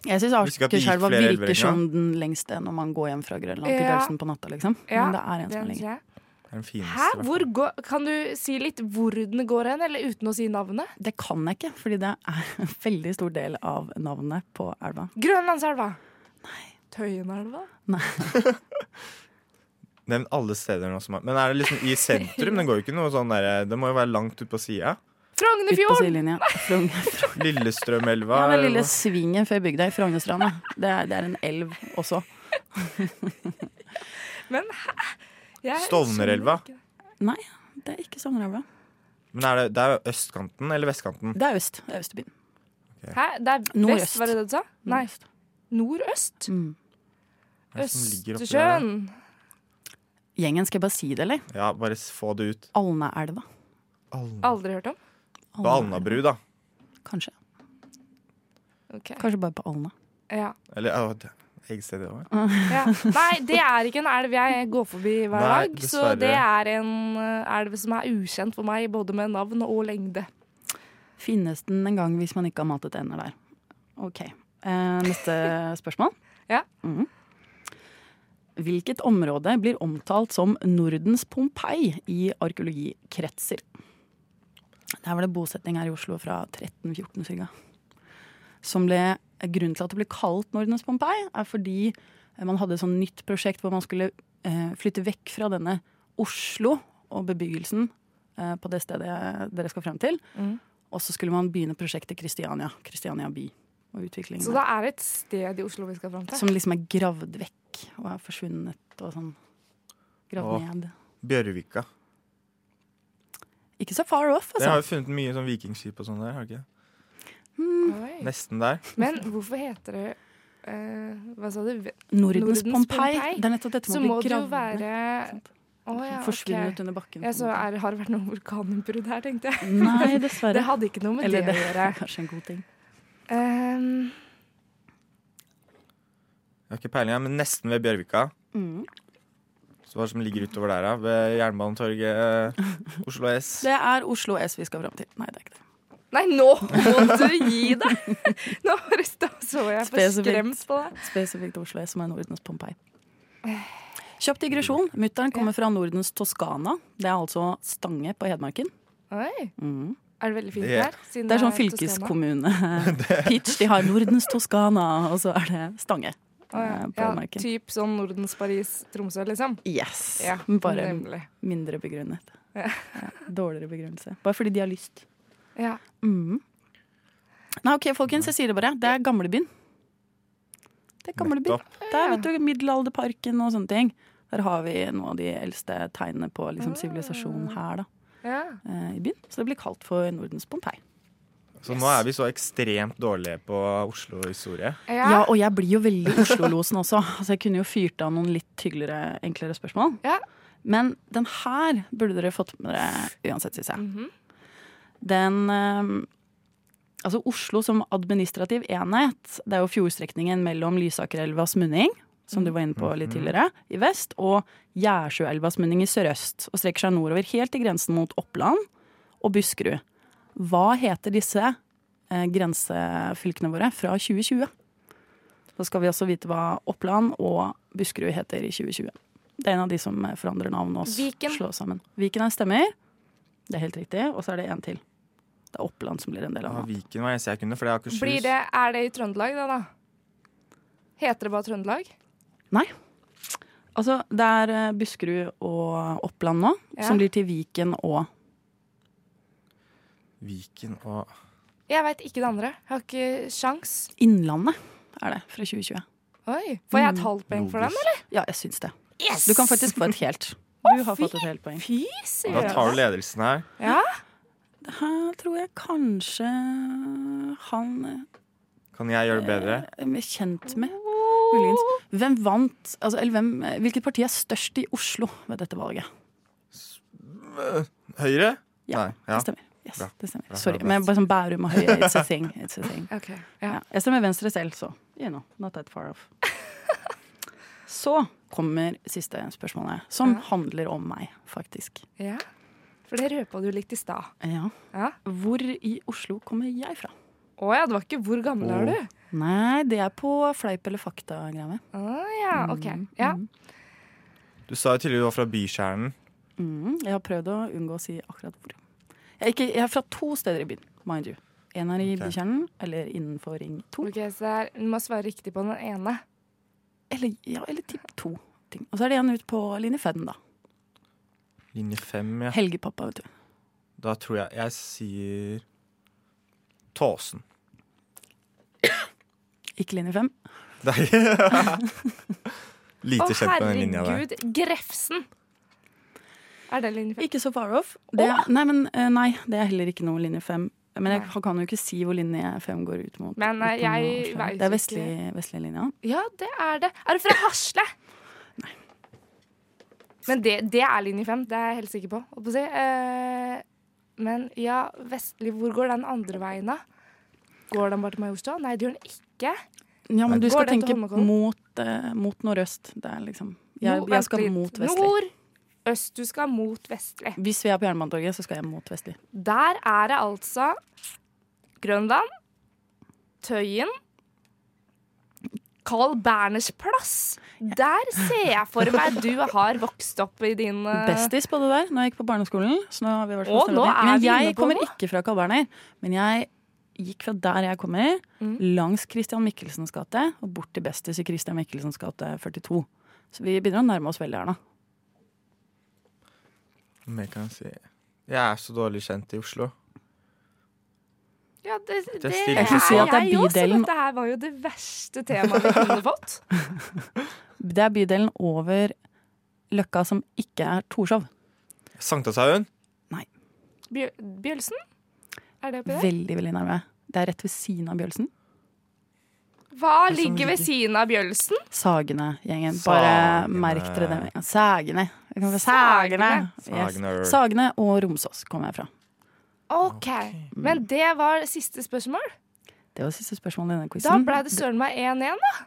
D: Jeg syns
C: Husker ikke at det gikk
D: Akerselva
C: flere elver
D: virker
C: en gang.
D: som den lengste når man går hjem fra Grønland til
B: Ja.
D: Galsen på natta, liksom.
B: Ja,
D: Men det er en som er
B: Den
D: lenger.
B: sier jeg.
C: Det er den fineste.
B: Hæ?
C: i hvert fall.
B: Hvor går, kan du si litt hvor den går hen, eller uten å si navnet?
D: Det kan jeg ikke, fordi det er en veldig stor del av navnet på elva.
B: Grønlandselva! Nei. Tøyenelva?
C: Nevn alle steder nå som er Men er det liksom i sentrum? Den går jo ikke noe sånn der Det må jo være langt ut på sida.
D: Ut på
B: Frognerfjorden!
D: sidelinja. Frogn- Frogn-
C: Lillestrømelva.
D: Ja, den lille
C: eller hva?
D: svingen før bygda i Frognerstranda. Det, er- det er en elv også.
B: Men hæ? Jeg
C: Stovnerelva.
B: skjønner ikke det.
D: Nei, det er ikke Sognerelva.
C: Men er det, det er jo østkanten eller vestkanten?
D: Det er øst. Det er Østbyen. Mm.
B: Hæ? Det er
D: Nordøst.
B: vest, var det det du sa? Nei.
D: Nordøst.
B: Nordøst?
D: Mm.
C: Hva er det som ligger oppi
B: Østersjøen.
D: Gjengen, skal jeg bare si det, eller?
C: der? Ja, bare s- få det ut.
D: Alnaelva.
C: Alna.
B: Aldri hørt om.
C: Og Alnabru, da.
D: Kanskje.
B: Ok.
D: Kanskje bare på Alna.
B: Ja.
C: Eller å, det- Eggstedet òg.
B: Ja. Nei, det er ikke en elv jeg går forbi hver
C: Nei,
B: dag. Så
C: dessverre.
B: det er en eh, elv som er ukjent for meg, både med navn og lengde.
D: Finnes den en gang hvis man ikke har matet ender der? Ok. Eh, neste spørsmål.
B: Ja.
D: Mhm. Hvilket område blir omtalt som Nordens Pompeii i arkeologikretser? Der var det bosetting her i Oslo fra 1314 cirka. Som ble, grunnen til at det ble kalt Nordens Pompeii, er fordi eh, man hadde et sånt nytt prosjekt hvor man skulle eh, flytte vekk fra denne Oslo og bebyggelsen eh, på det stedet dere skal frem til. Og så skulle man begynne prosjektet Kristiania. Kristiania by. Og utviklingen
B: Så
D: der.
B: det er et sted i Oslo vi skal fram til.
D: Som liksom er gravd vekk og er forsvunnet og sånn. Gravd
C: Åh.
D: ned.
C: Bjørvika.
D: Ikke så far off,
C: Dere har jo
D: altså.
C: funnet mye sånn vikingskip og sånn der, har dere ikke?
B: Oi.
C: Nesten der.
B: Men hvorfor heter det eh, Hva sa du?
D: Nordens,
B: Nordens
D: Pompeii.
B: Pompeii.
D: Det er nettopp dette
B: Så
D: med å
B: må
D: bli
B: det jo
D: gravd ned.
B: være Å ja,
D: Forsvunnet
B: ok.
D: under bakken.
B: Ja, så er, har det vært noe vulkanutbrudd her, tenkte jeg.
D: Nei, dessverre.
B: Det hadde ikke noe med
D: Eller
B: det
D: det
B: å gjøre.
D: er kanskje en god ting.
B: Ehm,
C: Jeg har ikke peiling, men nesten ved Bjørvika.
D: Mm.
C: Så hva er det som ligger utover der, da? Ved Jernbanetorget, eh, Oslo S.
D: Det er Oslo S vi skal fram til. Nei, det er ikke det.
B: Nei, nå må du gi deg! Nå bare sta- så jeg forskremt
D: Spesifikt.
B: på deg.
D: Spesifikt Oslo S som er Nordens Pompeii. Kjapp digresjon. Mutter'n kommer fra Nordens Toskana. Det er altså Stange på Hedmarken.
B: Oi. Er det veldig fint
C: Ja.
B: der? siden
D: Mm. Det er sånn
B: Toskana?
D: fylkeskommune-pitch. De har Nordens Toskana, og så er det Stange.
B: Å
D: eh, på
B: ja. ja,
D: Hedmarken.
B: typ sånn Nordens Paris, Tromsø, liksom.
D: Yes!
B: Ja,
D: Bare
B: nemlig.
D: mindre begrunnet. Ja, dårligere begrunnelse. Bare fordi de har lyst.
B: Ja.
D: Nei, ok, folkens, jeg sier det bare. Det er gamlebyen. Det er gamlebyen.
C: Nettopp.
D: Der vet du, Middelalderparken og sånne ting. Der har vi noen av de eldste tegnene på liksom, sivilisasjonen her da,
B: ja.
D: eh, i byen. Så det blir kalt for Nordens Pompeii.
C: Så nå er vi så ekstremt dårlige på Oslo-historie.
B: Ja.
D: Ja, og jeg blir jo veldig Oslo-losen også. Altså, jeg kunne jo fyrt av noen litt hyggeligere, enklere spørsmål.
B: Ja.
D: Men den her burde dere fått med dere uansett, syns jeg. Den eh, Altså Oslo som administrativ enhet, det er jo fjordstrekningen mellom Lysakerelvas munning, som du var inne på litt tidligere, i vest, og Gjerdsjøelvas munning i sørøst, og strekker seg nordover helt til grensen mot Oppland og Buskerud. Hva heter disse eh, grensefylkene våre fra 2020? Da skal vi også vite hva Oppland og Buskerud heter i 2020. Det er en av de som forandrer navn og s-
B: Viken.
D: slår sammen. Viken er stemmer. Det er helt riktig. Og så er det en til. Det er Oppland som blir en del
C: Ja,
D: av det.
C: Viken var eneste jeg kunne, for det er Akershus.
B: Blir det, er det i Trøndelag, da? da? Heter det bare Trøndelag?
D: Nei. Altså, det er eh, Buskerud og Oppland nå,
B: Ja.
D: som blir til Viken og
C: Viken og
B: Jeg veit ikke det andre. Jeg har ikke sjans.
D: Innlandet, er det, fra 2020.
B: Oi, Får
C: Mm,
B: jeg et halvt poeng for den, eller?
D: Ja, jeg syns det. Du kan faktisk få et helt. Du har fått et helt poeng.
B: Fy
C: Da
B: søren.
C: tar du ledelsen her.
B: Ja.
D: Her Eh, tror jeg kanskje han
C: Kan jeg gjøre det bedre?
D: eh, er kjent med, muligens. Hvem vant altså, Eller hvem, hvilket parti er størst i Oslo ved dette valget?
C: Høyre?
D: Ja,
C: Nei, ja.
D: Det stemmer. Yes,
C: Bra.
D: det stemmer.
C: Bra,
D: Sorry.
C: bra, bra.
D: Men bare sånn Bærum og Høyre, it's a thing. It's a thing.
B: Ok, ja.
D: Ja. Jeg stemmer Venstre selv, så you know, not that far off. Så kommer siste spørsmålet, som handler om meg, faktisk.
B: ja. For det røpa du litt i stad.
D: Ja.
B: Ja.
D: Hvor i Oslo kommer jeg fra?
B: Å ja, det var ikke hvor gammel er du?
D: Nei, det er på fleip eller fakta-greia.
B: Å ja, ok. Ja.
C: Du sa jo tidligere du var fra Bykjernen.
D: Mm, jeg har prøvd å unngå å si akkurat hvor. Jeg er, ikke, jeg er fra to steder i byen, mind you. En er i
C: Ok.
D: bykjernen, eller innenfor ring to.
B: Ok, så det er- Du må svare riktig på den ene.
D: Eller, ja, eller tipp to. Ting. Og så er det en ute på linje fem, da.
C: Linje fem, ja.
D: Helgepappa, vet du.
C: Da tror jeg jeg sier Tåsen.
D: Ikke linje fem.
C: Nei.
B: Å
C: Lite kjent med den linja der.
B: herregud, Grefsen! Er det linje fem?
D: Ikke så far off. Det, nei, men, eh, nei, det er heller ikke noe linje fem. Men jeg kan jo ikke si hvor linje fem går ut mot.
B: Men, eh, jeg
D: utenom
B: vet
D: Oslo. Det er
B: ikke.
D: vestlig, vestlig linja.
B: Ja, det er det. Er du fra Hasle? Nei. Men det, det er linje fem, det er jeg helt sikker på. holdt på å si. Eh, men ja, vestlig, hvor går den andre veien, da? Går den bare til Majorstua? Nei, det gjør den ikke.
D: Ja, men du
B: Går
D: skal
B: den til
D: tenke
B: Holmenkollen?
D: mot, eh, mot nordøst. Det er liksom Jeg,
B: Nord-
D: jeg skal
B: vent litt.
D: mot vestlig.
B: Nord, øst, du skal mot vestlig.
D: Hvis vi er på Jernbanetorget, så skal jeg mot vestlig.
B: Der er det altså Grønland, Tøyen, Carl Berners plass. Der ser jeg for meg du har vokst opp i din eh,
D: Bestis på det der når jeg gikk på barneskolen. Så nå har vi vært
B: Å,
D: på
B: nå er
D: men
B: vi inne
D: jeg
B: på
D: kommer
B: noe.
D: ikke fra Carl Berner. Men jeg gikk fra der jeg kommer,
B: Mm.
D: langs Christian Michelsens gate og bort til Bestis i Christian Michelsens gate 42. Så vi begynner å nærme oss veldig her nå.
C: Men jeg kan si Jeg er så dårlig kjent i Oslo.
B: Ja, det, det,
C: Det
B: er
C: stiller
B: jeg
C: jeg ikke
D: si at det er
B: jo, så
D: bydelen.
B: dette her var jo det verste temaet vi kunne fått.
D: Det er bydelen over Løkka som ikke er Torshov.
C: Sankthanshaugen?
B: Bjø- Bjølsen? Er det oppi der?
D: Veldig, veldig nærme. Det er rett ved siden av Bjølsen.
B: Hva ligger ved siden av Bjølsen?
D: Sagene-gjengen. Bare
C: Sagene.
D: merk dere det. med- Sagene. Jeg kommer fra Sagene.
C: Sagene.
D: Yes. Sagene og Romsås kommer jeg fra.
B: OK. Men det var siste spørsmål.
D: Det var siste spørsmål i denne
B: Da
D: quizen.
B: ble det søren meg 1-1, da.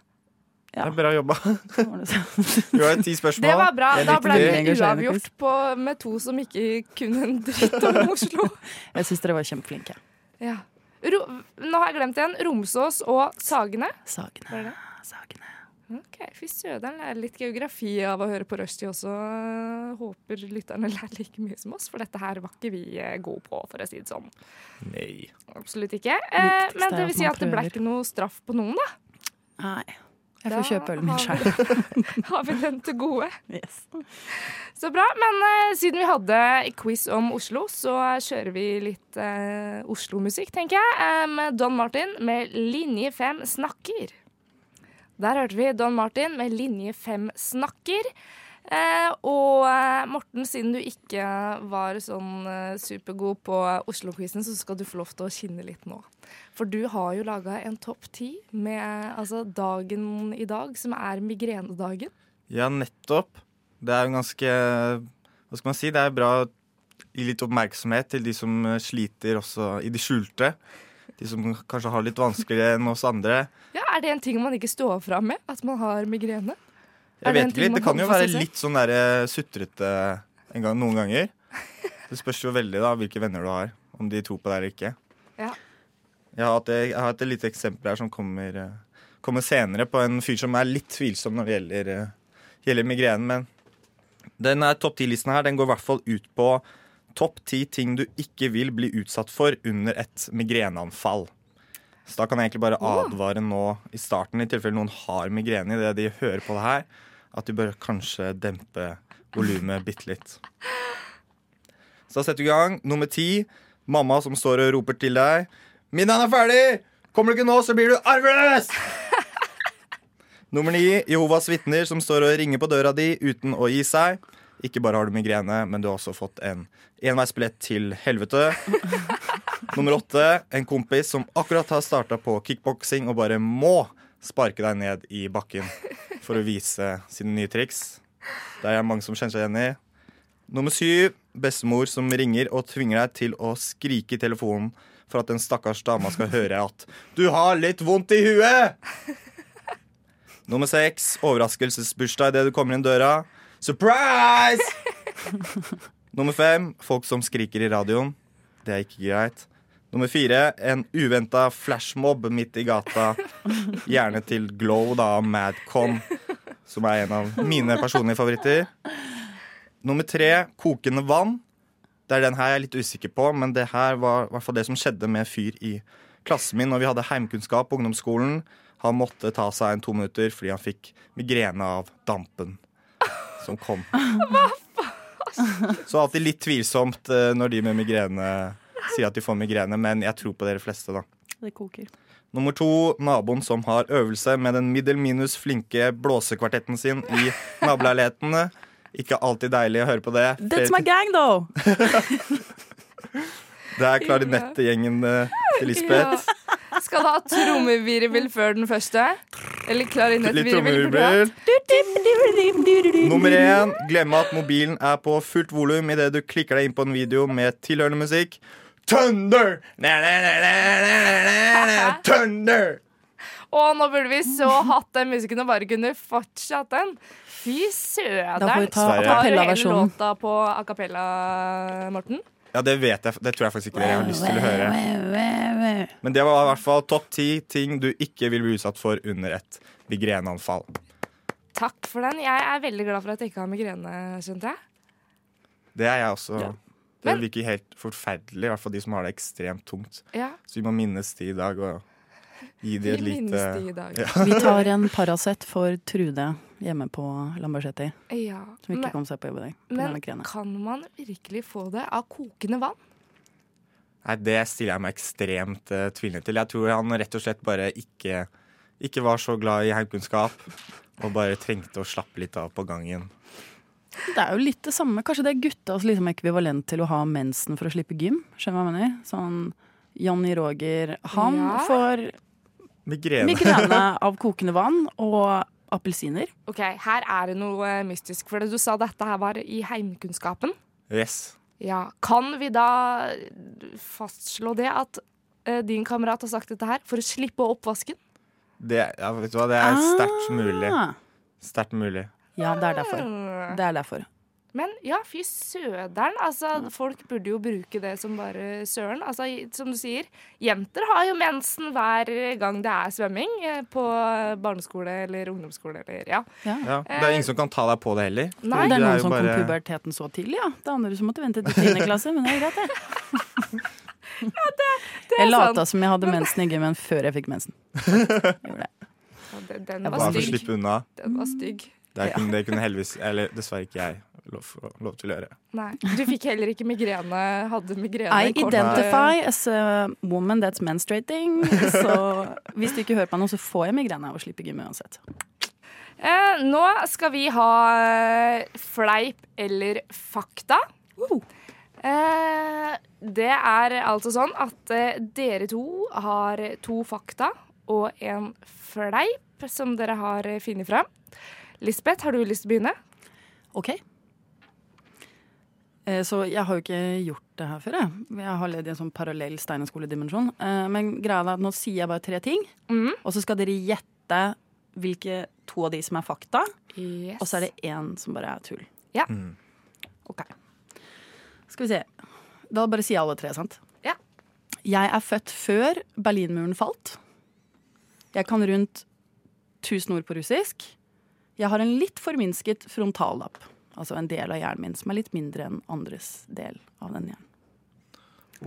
C: Det er bra jobba.
D: Så var det sånn.
C: Du har ti spørsmål.
B: Det var bra.
C: Jeg
B: Da
C: likte
B: ble
C: det.
B: det
D: Engasjerende
B: uavgjort
D: quiz.
B: på, med to som ikke kunne en dritt om Oslo.
D: Jeg syns dere var kjempeflinke.
B: Ja. Ro Nå har jeg glemt igjen. Romsås og Sagene. Var det
D: Sagene.
B: det?
D: Sagene.
B: Ok, Fy søderen, lærer litt geografi av å høre på Rushdie også. Håper lytterne lærer like mye som oss, for dette her var ikke vi eh, gode på, for å si det sånn.
C: Nei.
B: Absolutt ikke. Eh,
D: Viktigste
B: men
D: er
B: det
D: at
B: vil si
D: man
B: at det ble
D: prøver.
B: ikke noe straff på noen, da.
D: Nei. Jeg
B: Da
D: får kjøpe ølen min
B: har
D: sjøl.
B: vi- Har vi den til gode?
D: Yes.
B: Så bra. Men eh, siden vi hadde quiz om Oslo, så kjører vi litt eh, Oslo-musikk, tenker jeg. eh, Med Don Martin med 'Linje 5 snakker'. Der hørte vi Don Martin med 'Linje 5 snakker'. Eh, og eh, Morten, siden du ikke var sånn eh, supergod på Oslo-quizen, så skal du få lov til å skinne litt nå. For du har jo laga en topp ti med eh, altså dagen i dag, som er migrenedagen.
C: Ja, nettopp. Det er jo ganske Hva skal man si? Det er bra å gi litt oppmerksomhet til de som eh, sliter også i det skjulte. De som kanskje har det litt vanskeligere enn oss andre.
B: Ja, Er det en ting man ikke står fram med? At man har migrene? Er
C: Jeg
B: det
C: vet
B: en
C: ikke
B: ting
C: litt,
B: man
C: Det kan jo
B: holder for
C: være
B: seg selv?
C: litt sånn der eh, sutrete en gang, noen ganger. Det spørs jo veldig da hvilke venner du har, om de tror på deg eller ikke.
B: Ja.
C: Jeg har hatt et, jeg har hatt et lite eksempel her som kommer, eh, kommer senere, på en fyr som er litt tvilsom når det gjelder, eh, gjelder migrenen. Men den er topp 10-listen her. Den går i hvert fall ut på Topp ti ting du ikke vil bli utsatt for under et migreneanfall. Så da kan jeg egentlig bare advare nå i starten, i tilfelle noen har migrene i det de hører på det her, at de bør kanskje dempe volumet bitte litt. Så da setter vi i gang. Nummer ti. Mamma som står og roper til deg. 'Middagen er ferdig! Kommer du ikke nå, så blir du arveløs!' Nummer ni. Jehovas vitner som står og ringer på døra di uten å gi seg. Ikke bare har du migrene, men du har også fått en enveisbillett til helvete. Nummer åtte. En kompis som akkurat har starta på kickboksing og bare må sparke deg ned i bakken for å vise sine nye triks. Det er mange som kjenner seg igjen i. Nummer syv. Bestemor som ringer og tvinger deg til å skrike i telefonen for at den stakkars dama skal høre at 'du har litt vondt i huet'. Nummer seks. Overraskelsesbursdag idet du kommer inn døra. Surprise! Nummer fem. Folk som skriker i radioen. Det er ikke greit. Nummer fire. En uventa flashmob midt i gata. Gjerne til Glow, da, av Madcon, som er en av mine personlige favoritter. Nummer tre, kokende vann. Det er den her jeg er litt usikker på, men det her var i hvert fall det som skjedde med en fyr i klassen min når vi hadde heimkunnskap på ungdomsskolen. Han måtte ta seg en to minutter fordi han fikk migrene av dampen som kom. Så alltid litt tvilsomt eh, når de med migrene sier at de får migrene, men jeg tror på dere fleste, da.
H: Det koker.
C: Nummer to, naboen som har øvelse med den middel minus flinke blåsekvartetten sin i naboleilighetene. Ikke alltid deilig å høre på det.
H: That's my gang, though!
C: Det er klarinettgjengen eh, til Lisbeth.
B: Ja. Skal du ha trommevirvel før den første? Eller
C: Litt
B: klarinettvirvel?
C: trommevirvel. Nummer én, glemme at mobilen er på fullt volum idet du klikker deg inn på en video med tilhørende musikk. Thunder! Na, na, na, na, na, na, na, na, Thunder!
B: Å, nå burde vi så hatt den musikken og bare kunne fortsatt den. Fy søderen.
D: Da får vi ta
B: Tar du hele
D: acapella-versjonen.
B: låta på a cappella, Morten?
C: Ja, det vet jeg. Det tror jeg faktisk ikke dere har lyst til å høre. Men det var i hvert fall topp ti ting du ikke vil bli utsatt for under et migreneanfall.
B: Takk for den. Jeg er veldig glad for at jeg ikke har migrene, skjønte jeg.
C: Det er jeg også. Det
B: Men-
C: virker helt forferdelig, i hvert fall de som har det ekstremt tungt.
B: Ja,
C: Så vi må minnes de i dag og gi de
B: vi
C: et
B: minnes
C: lite
B: de i dag. Ja.
D: Vi tar en Paracet for Trude hjemme på Lambertseter, som ikke
B: Men,
D: kom seg på jobb i dag. på grunn av
B: men
D: migrene.
B: kan man virkelig få det av kokende vann?
C: Nei, det stiller jeg meg ekstremt eh, tvilende til. Jeg tror han rett og slett bare ikke, ikke var så glad i heimkunnskap. Og bare trengte å slappe litt av på gangen.
D: Det er jo litt det samme. Kanskje det er guttas liksom ekvivalent til å ha mensen for å slippe gym. Skjønner du hva jeg mener? Sånn Johnny Roger, han
B: Ja.
D: får
C: Migrene.
D: migrene av kokende vann og appelsiner.
B: Ok, Her er det noe eh, mystisk. For du sa dette her var i heimkunnskapen.
C: Yes.
B: Ja, Kan vi da eh, fastslå det at eh, din kamerat har sagt dette her for å slippe oppvasken?
C: Det, ja, vet du hva? det er sterkt mulig.
D: Ah.
C: Sterkt mulig.
D: Ja, det er derfor. Det er derfor.
B: Men ja, fy søderen. Altså, folk burde jo bruke det som bare søren. Altså, i- som du sier, jenter har jo mensen hver gang det er svømming eh, på barneskole eller ungdomsskole eller ja.
C: Ja. Det er ingen som kan ta deg på det heller.
B: Nei.
C: Du
D: det er
C: er
D: noen
C: jo
D: som
C: bare-
D: kom puberteten så tidlig, ja. Det er andre som måtte vente til tiende klasse, men det er greit, det. jeg lata
B: sant.
D: som jeg hadde mensen i gymmen før jeg fikk mensen.
B: Ja, den- Den
D: Jeg
B: var
C: Bare for å
B: stygg.
C: slippe unna.
B: Den var stygg.
C: Det, er, kun- det kunne heldigvis Eller dessverre ikke jeg lov, lov til å gjøre.
B: Nei. Du fikk heller ikke migrene, hadde migrene
D: I
B: kort, eh,
D: identify as a woman that's menstruating. Så hvis du ikke hører på noe, så får jeg migrene av å slippe gym uansett.
B: Eh, nå skal vi ha eh, fleip eller fakta. Eh, det er altså sånn at eh, dere to har to fakta og en fleip som dere har eh, funnet fram. Lisbeth, har du lyst til å begynne?
D: Ok. Eh, Så jeg har jo ikke gjort det her før, jeg. Jeg har levd i en sånn parallell steinerskoledimensjon. Eh, Men greia er at nå sier jeg bare tre ting, og så skal dere gjette hvilke to av de som er fakta,
B: Yes.
D: og så er det én som bare er tull.
B: Ja.
D: Ok. Skal vi se. Da bare sier jeg alle tre, sant?
B: Ja.
D: Jeg er født før Berlinmuren falt. Jeg kan rundt 1000 ord på russisk. Jeg har en litt forminsket frontallapp. Altså en del av hjernen min som er litt mindre enn andres del av den hjernen.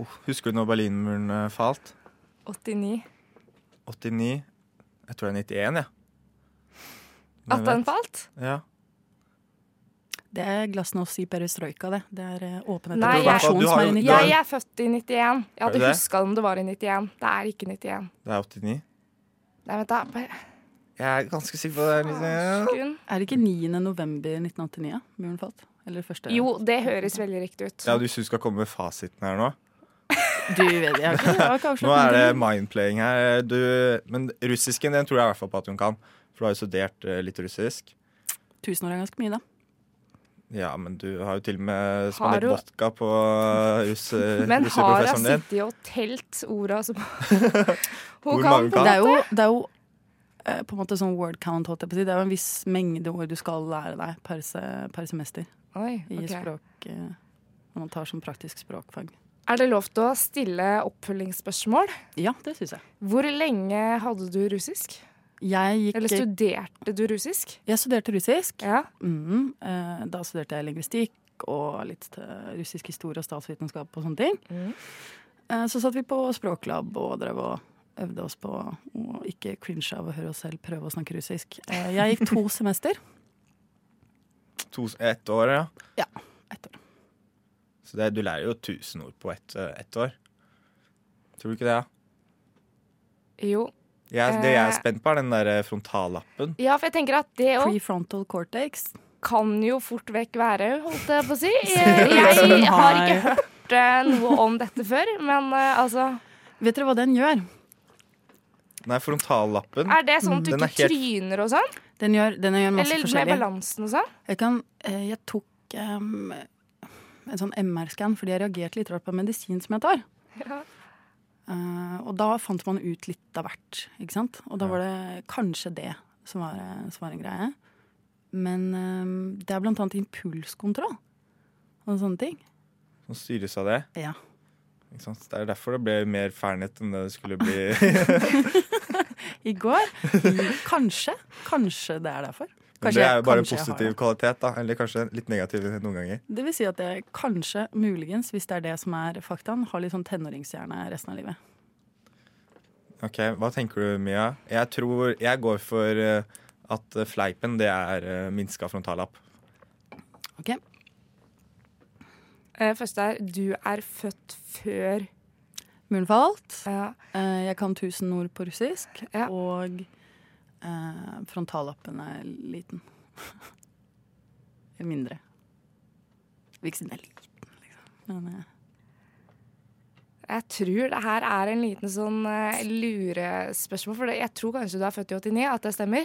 C: Oh, husker du når Berlinmuren eh, falt?
B: 89.
C: 89 Jeg tror det er 91, jeg.
B: At den falt?
C: Ja.
D: Det er glasnost i perestrojka, det. Det er eh, åpenhet
B: Nei,
D: og progresjon
C: jeg-
D: som
C: Du har
D: er
C: jo-
D: i
C: du har-
B: Jeg
D: nytt.
B: er født i 91. Jeg
C: Er du
B: hadde
C: det?
B: huska om det var i 91. Det er ikke 91.
C: Det er 89.
B: Nei, vent da. Bare
C: Jeg er ganske sikker på det. er Liksom.
B: sekund.
D: Er det ikke 9. november 1989 ja, muren falt? Eller første
B: Jo, det høres veldig riktig ut.
C: Ja, du synes du skal komme med fasiten her nå?
D: Du vet jeg har ikke. Jeg har ikke
C: Nå er
D: avslørt
C: det
D: noe.
C: mindplaying her. Eh, Du, men russisken den tror jeg i hvert fall på at hun kan. For du har jo studert eh, litt russisk.
D: Tusen år er ganske mye, da.
C: Ja, men du har jo til og med
B: Har
C: spandert
B: du-
C: vodka på eh, russ,
B: Men har hun
C: russerprofessoren din.
B: sittet og telt orda som
C: Hvor
B: Hun
C: mange
B: kan
C: kan?
D: Det er jo, det er jo eh, på en måte sånn word count, holdt jeg på å si. Det er jo en viss mengde ord du skal lære deg per, se, per semester
B: Oi,
D: i
B: ok.
D: språk eh, når man tar som praktisk språkfag.
B: Er det lov til å stille oppfølgingsspørsmål?
D: Ja, det syns jeg.
B: Hvor lenge hadde du russisk?
D: Jeg,
B: Eller
D: gikk,
B: studerte du russisk?
D: jeg studerte russisk.
B: Ja.
D: Mm, eh, da studerte jeg lingvistikk og litt eh, russisk historie og statsvitenskap og sånne ting. Eh, så satt vi på språklab og drev og øvde oss på å ikke cringe av å høre oss selv prøve å snakke russisk. Eh, jeg gikk to semester.
C: To, ett år, ja.
D: Ja, ett år.
C: Så det, du lærer jo 1000 ord på ett, eh, ett år. Tror du ikke det, ja?
B: Jo.
C: Jeg, det jeg er
B: Eh.
C: spent på, er den der frontallappen.
B: Ja, for jeg tenker at det òg
D: Prefrontal cortex.
B: kan jo fort vekk være, holdt jeg på å si. Jeg, jeg har ikke hørt eh, noe om dette før, men eh, altså
D: Vet dere hva den gjør?
C: Nei, frontallappen.
B: Er det sånn at du
C: Den er
B: ikke
C: helt-
B: tryner og sånn?
D: Den gjør, den gjør masse
B: Eller med
D: forskjellig.
B: balansen og sånn?
D: Jeg, kan, eh, jeg tok em, en sånn MR-scan fordi jeg reagerte litt rart på medisin som jeg tar.
B: Ja.
D: Eh, og da fant man ut litt av hvert, ikke sant? Og da var det kanskje det som var, eh, som var en greie. Men em, det er blant annet impulskontroll og sånne ting.
C: Som styres av det.
D: Ja.
C: Ikke sant? Det er derfor det ble mer fernet enn det det skulle bli.
D: I går. Kanskje. Kanskje det er derfor.
C: Men det
D: Kanskje jeg-
C: er jo bare en
D: kanskje jeg har
C: positiv kvalitet, da. Eller kanskje litt negativ noen ganger.
D: Det vil si at jeg kanskje, muligens, hvis det er det som er faktaen, har litt sånn tenåringshjerne resten av livet.
C: Ok, Hva tenker du, Mia? Jeg tror jeg går for eh, at eh, fleipen, det er eh, minska frontallapp.
D: Ok?
B: Eh, Første er du er født før
D: Muren falt.
B: ja.
D: Eh, Jeg kan tusen ord på russisk.
B: Ja.
D: Og eh, frontallappen er liten. Eller mindre. Jeg Vil ikke si den er liten, liksom. Men eh,
B: Jeg tror det her er en liten sånn eh, lurespørsmål, for det- jeg tror kanskje du er født i 89, at det stemmer.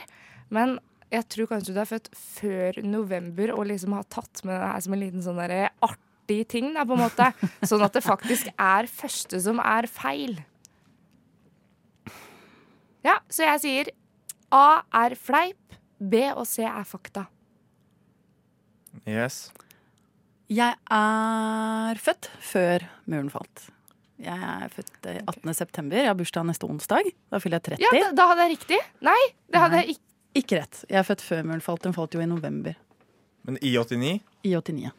B: Men jeg tror kanskje du er født før november og liksom har tatt med det her som en liten sånn derre artig ting, da, på en måte. Sånn at det faktisk er første som er feil. Ja, så jeg sier A er fleip, B og C er fakta.
C: Yes.
D: jeg er født før muren falt. Jeg er født eh, 18. september. Jeg har bursdag neste onsdag. Da fyller jeg 30.
B: Ja, da, da hadde jeg riktig. Nei, det hadde
D: Nei.
B: jeg ikke.
D: Ikke rett. Jeg er født før muren falt. Den falt jo i november
C: Men I89
D: i 89.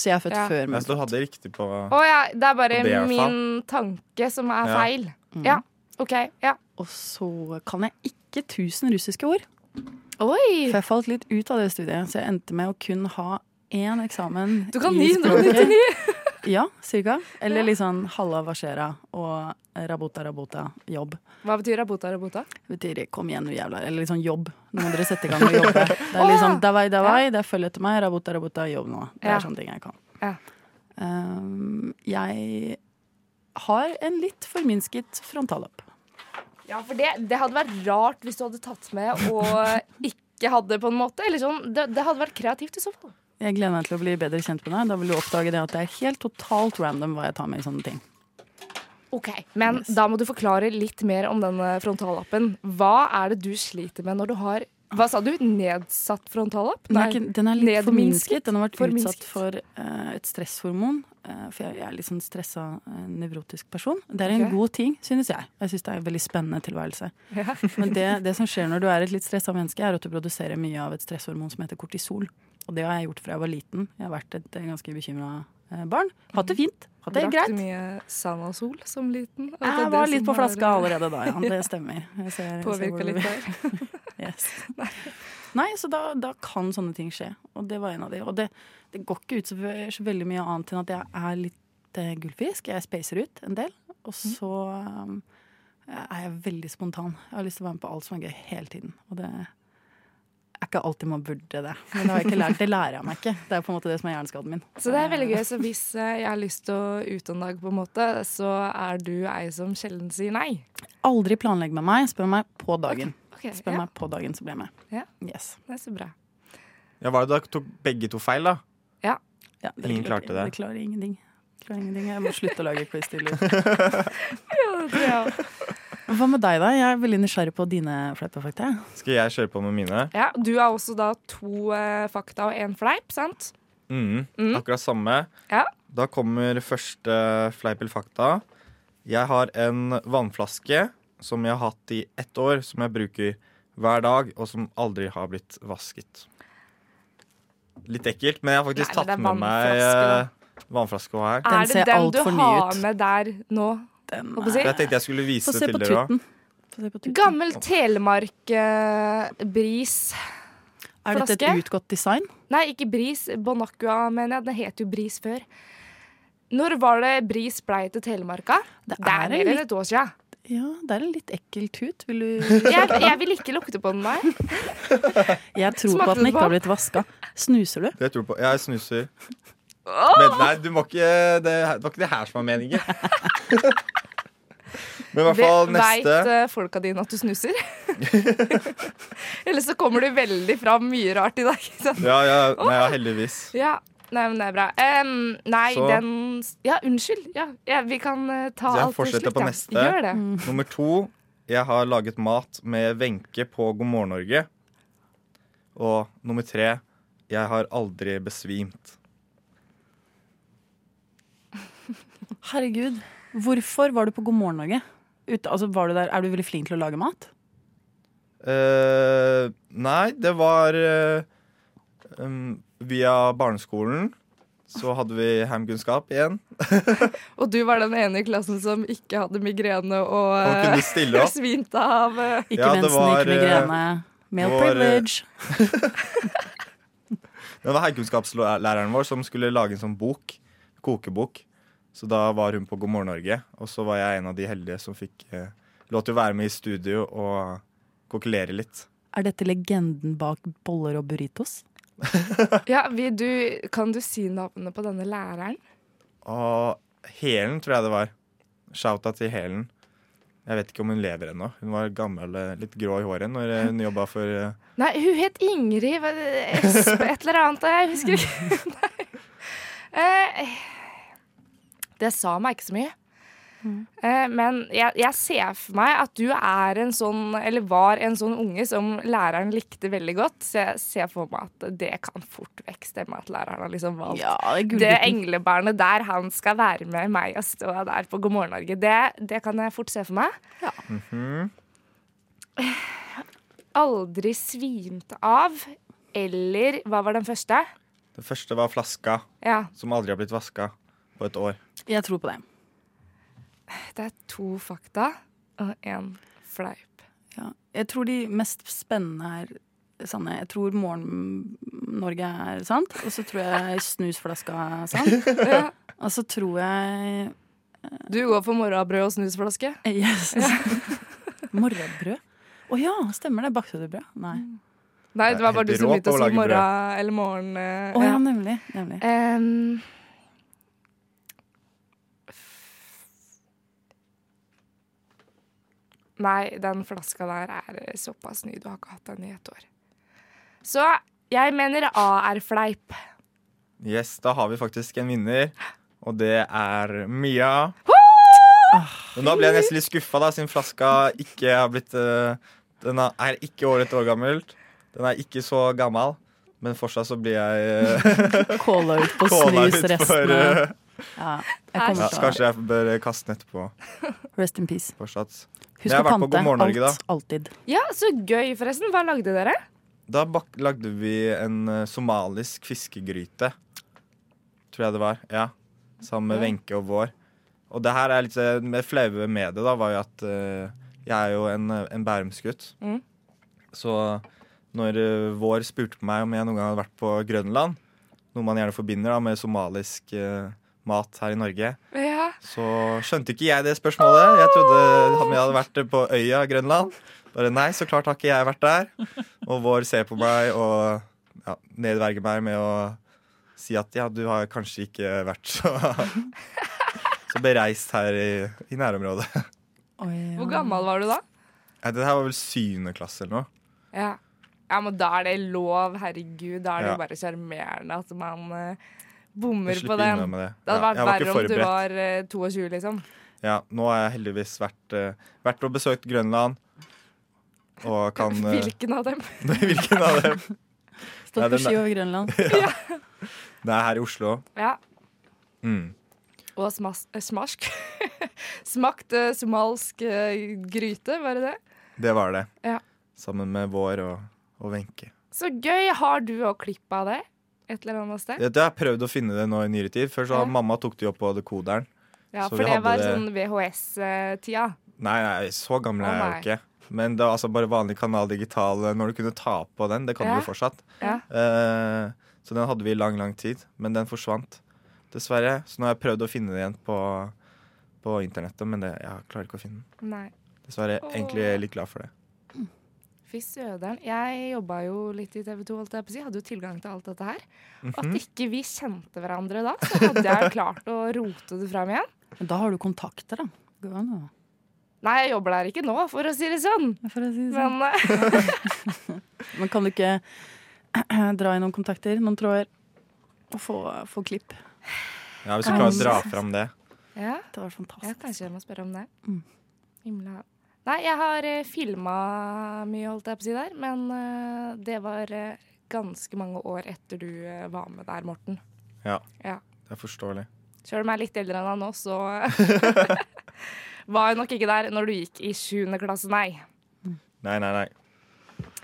D: Så jeg er født
B: Ja.
D: før
C: Jeg
D: muren.
C: står hadde riktig på
B: Å ja, det er bare
C: Og B er
B: min tanke som er
C: Ja.
B: feil.
D: Mm.
B: Ja, OK. Ja.
D: Og så kan jeg ikke tusen russiske ord.
B: Oi!
D: For jeg falt litt ut av det studiet, så jeg endte med å kun ha én eksamen.
B: Du kan
D: i
B: 999.
D: språket. Ja, cirka. Eller litt sånn halla vasjera og rabota rabota jobb.
B: Hva betyr rabota rabota?
D: Det betyr kom igjen, du jævla Eller litt sånn jobb. Nå må dere sette i gang og jobbe. Det er litt sånn davai, davai, det er følg etter meg, rabota rabota jobb nå. Det
B: Ja.
D: er sånne ting jeg kan.
B: Ja.
D: Um, jeg har en litt forminsket frontallapp.
B: Ja, for det, det hadde vært rart hvis du hadde tatt med og ikke hadde, på en måte. Eller sånn, det, det hadde vært kreativt i så fall.
D: Jeg gleder meg til å bli bedre kjent med deg. Da vil du oppdage det at det er helt totalt random hva jeg tar med i sånne ting.
B: Ok, Men da må du forklare litt mer om denne frontallappen. Hva er det du sliter med når du har Hva sa du? Nedsatt frontallapp?
D: Den er, ikke, den er litt forminsket.
B: nedminsket.
D: Den har vært
B: Forminsket.
D: utsatt for eh, et stresshormon. eh, for jeg, jeg er litt sånn stressa, eh, nevrotisk person. Det er en
B: Ok.
D: god ting, synes jeg. Jeg synes det er en veldig spennende tilværelse. Men det, det som skjer når du er et litt stressa menneske, er at du produserer mye av et stresshormon som heter kortisol. Og det har jeg gjort fra jeg var liten. Jeg har vært et eh, ganske bekymra barn. Hatt det fint. Hatt det helt
B: Drakk du
D: greit.
B: mye Sanasol som liten? At det er
D: Jeg
B: det
D: Ah, var
B: som
D: litt på
B: har
D: flaska allerede da, ja. Det stemmer. Jeg ser- jeg ser hvor
B: Påvirket
D: du-
B: litt der.
D: Yes. Nei, så da, da kan sånne ting skje. Og det var en av de. Og det, det går ikke ut så, ve- så veldig mye annet enn at jeg er litt eh, gullfisk. Jeg spacer ut en del. Og så um, er jeg veldig spontan. Jeg har lyst til å være med på alt som er gøy hele tiden. Og det er ikke alltid man burde det. Men det har jeg ikke lært. Det lærer jeg meg ikke. Det er på en måte det som er hjerneskaden min.
B: Så det er veldig gøy. Så hvis eh, jeg har lyst til å ut en dag, på en måte, så er du ei som sjelden sier nei.
D: Aldri planlegg med meg. Spør meg på dagen.
B: Ok,
D: Spør
B: ja,
D: meg på dagen, så blir jeg med.
B: Ja.
D: Yes.
B: Det er så bra.
C: Ja, var det da tok begge to feil, da?
D: Ja,
C: Ingen klarte det.
D: Jeg klarer ingenting. Klarer ingenting. Jeg må slutte å lage quiz-stiler. Hva med deg, da? Jeg er veldig nysgjerrig på dine fleiper, faktisk.
C: Skal jeg kjøre på med mine?
B: Ja, Du har også da to eh, fakta og én fleip, sant?
C: Mm,
B: Mm.
C: Akkurat samme.
B: Ja.
C: Da kommer første fleip eller fakta. Jeg har en vannflaske som jeg har hatt i ett år, som jeg bruker hver dag, og som aldri har blitt vasket. Litt ekkelt, men jeg har faktisk
B: Nei, men det
C: tatt
B: er
C: med meg
B: vannflaske,
C: eh, vannflaske også her.
B: er
D: ser
B: det den
D: alt
B: du
D: for ny
B: har
D: ut.
B: med der nå?
D: Den
B: Håper jeg å
C: Jeg
B: si?
C: tenkte jeg skulle vise
D: Få se
C: det
D: på
C: til dere òg.
D: tutten. Få se på tutten.
B: Gammel eh, Telemark-bris.
D: Er dette
B: flaske?
D: et utgått design?
B: Nei, ikke bris. Bonacua, mener jeg. Den het jo Bris før. Når var det Bris blei til Telemarka?
D: Det
B: Det er
D: er en
B: mer enn
D: litt,
B: et år sia.
D: ja, det er en litt ekkel tut. Vil du
B: Jeg, jeg vil ikke lukte på den, nei.
D: Jeg tror
B: Smakte
D: på at den
B: det
D: ikke har
B: vann?
D: blitt vaska. Snuser du?
C: Det tror jeg på. Jeg snuser. Men nei, du må ikke, det, det var ikke det her som var meningen. Men i hvert fall neste.
B: Veit eh, folka dine at du snuser? Eller så kommer du veldig fram mye rart i dag. ikke sant?
C: Ja, ja, nei, ja, heldigvis.
B: Ja. Nei, men det er bra. Em, nei,
C: Så-
B: den Ja, unnskyld. Ja, ja vi kan eh, ta
C: Så jeg
B: alt til
C: fortsetter
B: slutt.
C: på
B: ja.
C: neste.
B: Gjør det.
C: Nummer to. Jeg har laget mat med Wenche på God morgen Norge. Og nummer tre. Jeg har aldri besvimt.
D: Herregud. Hvorfor var du på God morgen Norge? Ute, altså, var du der, er du veldig flink til å lage mat?
C: eh nei, det var eh, um, Via barneskolen så hadde vi heimkunnskap igjen.
B: Og du var den ene i klassen som ikke hadde migrene og
C: Og kunne
B: eh,
C: stille opp.
B: svimte av. eh.
D: Ikke
C: Ja, det
D: mensen,
C: var,
D: ikke migrene. Male
C: var, eh,
D: privilege.
C: Det var heimkunnskapslæreren vår som skulle lage en sånn bok. Kokebok. Så da var hun på God morgen Norge, og så var jeg en av de heldige som fikk eh, lov til å være med i studio og kokkelere litt.
D: Er dette legenden bak boller og burritos?
B: Ja, vi, du, kan du si navnet på denne læreren?
C: Og Helen tror jeg det var. Shouta til Helen. Jeg vet ikke om hun lever ennå. Hun var gammel, eh, litt grå i håret når eh, hun jobba for eh,
B: Nei, hun het Ingrid hva- Espe, et eller annet. Jeg husker ikke. Nei. Eh, Det sa meg ikke så mye. Eh, Men jeg, jeg ser for meg at du er en sånn, eller var en sånn unge som læreren likte veldig godt. Så jeg ser for meg at det kan fort vekk stemme at læreren har liksom valgt
D: det er
B: det englebarnet der, han skal være med meg og stå der på God morgen Norge. Det, det kan jeg fort se for meg. Mhm. Aldri svimt av, eller hva var den første?
C: Det første var flaska,
B: Ja,
C: som aldri har blitt vaska på et år.
D: Jeg tror på det.
B: det er to fakta og én fleip.
D: Ja. Jeg tror de mest spennende er sanne. Jeg tror Morgen-Norge er sant. Og så tror jeg snusflaska er sant. Og så tror jeg
B: Du går for morrabrød og snusflaske?
D: yes. Morgenbrød. Å ja, stemmer det. Bakte du brød? Nei.
B: Nei, det var bare du
C: Jeg er
B: som
C: helt rå på
B: begynte å
C: å
B: si
C: lage
B: morra eller morgen. eh,
D: Å ja,
B: ja.
D: nemlig. nemlig.
B: Em, Nei, den flaska der er såpass ny. Du har ikke hatt den i et år. Så jeg mener A er fleip.
C: Yes, da har vi faktisk en vinner, og det er Mia. Ah, Men da ble jeg nesten litt skuffa, da, siden flaska ikke har blitt eh, Den er- er ikke over et år gammelt. Den er ikke så gammel, men fortsatt så blir jeg uh,
D: Kåla ut på
C: kåla ut for
D: snusrestene.
C: eh,
D: Ja, jeg
C: ja, så
D: kommer til
C: Kanskje jeg bør kaste den etterpå
D: å Rest in peace.
C: fortsatt. Men jeg
D: Husk å
C: har vært på
D: pante.
C: God morgen Norge, da.
D: Alt. Alltid.
B: Ja, så gøy, forresten. Hva lagde dere?
C: Da bak lagde vi en eh, somalisk fiskegryte. Tror jeg det var. Ja. Sammen med Wenche og Vår. Og det her er litt eh, det flaue med det, da, var jo at eh, jeg er jo en, eh, en bærumsgutt.
B: Mm.
C: Så når eh, Vår spurte på meg om jeg noen gang hadde vært på Grønland, noe man gjerne forbinder da med somalisk eh, mat her i Norge,
B: Ja.
C: så skjønte ikke jeg det spørsmålet. Jeg trodde han jeg hadde vært på øya Grønland. Bare nei, så klart har ikke jeg vært der. Og Vår ser på meg og ja, nedverger meg med å si at ja, du har kanskje ikke vært så Så bereist her i, i nærområdet.
B: Hvor gammel var du da?
C: Nei, det her var vel syvende klasse eller noe.
B: Ja. ja, men da er det lov, herregud. Da er det
C: Ja.
B: jo bare sjarmerende at man eh, bommer
C: Jeg
B: på
C: slipper
B: den.
C: unna med det.
B: Det hadde
C: Ja,
B: vært
C: jeg var
B: verre
C: ikke
B: om du
C: forberedt.
B: var eh, 22, liksom.
C: Ja, nå har jeg heldigvis vært, eh, vært og besøkt Grønland. Og kan eh,
B: Hvilken av dem?
C: Hvilken av dem? Nei,
D: Stått på
C: den
D: ski
C: er-
D: over Grønland.
C: Det er her i Oslo.
B: Ja.
C: Mm.
B: Og smas eh, smask. Smakt eh, somalsk eh, gryte, var det det?
C: Det var det.
B: Ja.
C: Sammen med Vår og, og Wenche.
B: Så gøy! Har du òg klipp av det? Et eller annet sted?
C: Jeg jeg har prøvd å finne det nå i nyere tid. Før så
B: Ja.
C: mamma tok det jo opp på dekoderen.
B: Ja,
C: så
B: for
C: vi
B: det
C: hadde
B: var
C: det-
B: sånn VHS-tida.
C: Nei, nei, så gammel
B: Å,
C: er jeg jo
B: nei.
C: ikke. Men det var altså bare vanlig kanal digital eh, når du kunne ta på den. Det kan du
B: Ja.
C: jo fortsatt.
B: Ja.
C: Eh, så den hadde vi i lang, lang tid. Men den forsvant, dessverre. Så nå har jeg prøvd å finne den igjen på, på internettet, men det, jeg klarer ikke å finne den.
B: Nei.
C: Dessverre.
B: Åh.
C: Egentlig er jeg litt glad for det.
B: Fy søderen. Jeg jobba jo litt i TV 2, holdt jeg på å si. Hadde jo tilgang til alt dette her.
C: Mhm.
B: At ikke vi kjente hverandre da, så hadde jeg jo klart å rote det fram igjen.
D: Men da har du kontakter, da. Det Går an, da.
B: Nei, jeg jobber der ikke nå, for å si det sånn.
D: For å si det sånn.
B: Men eh,
D: Men kan du ikke dra i noen kontakter, noen tråder, og få, få klipp?
C: Ja, Hvis du klarer å dra fram det.
B: ja,
D: Det hadde
B: ja,
D: vært fantastisk.
B: kanskje jeg må spørre om det.
D: Mm.
B: Himla. Nei, jeg har uh, filma mye, holdt jeg på å si der, men eh, det var eh, ganske mange år etter du eh, var med der, Morten.
C: Ja.
B: Ja.
C: Det er forståelig.
B: Sjøl om jeg er litt eldre enn han nå, så var jeg nok ikke der når du gikk i sjuende klasse, nei.
C: Nei, nei, nei.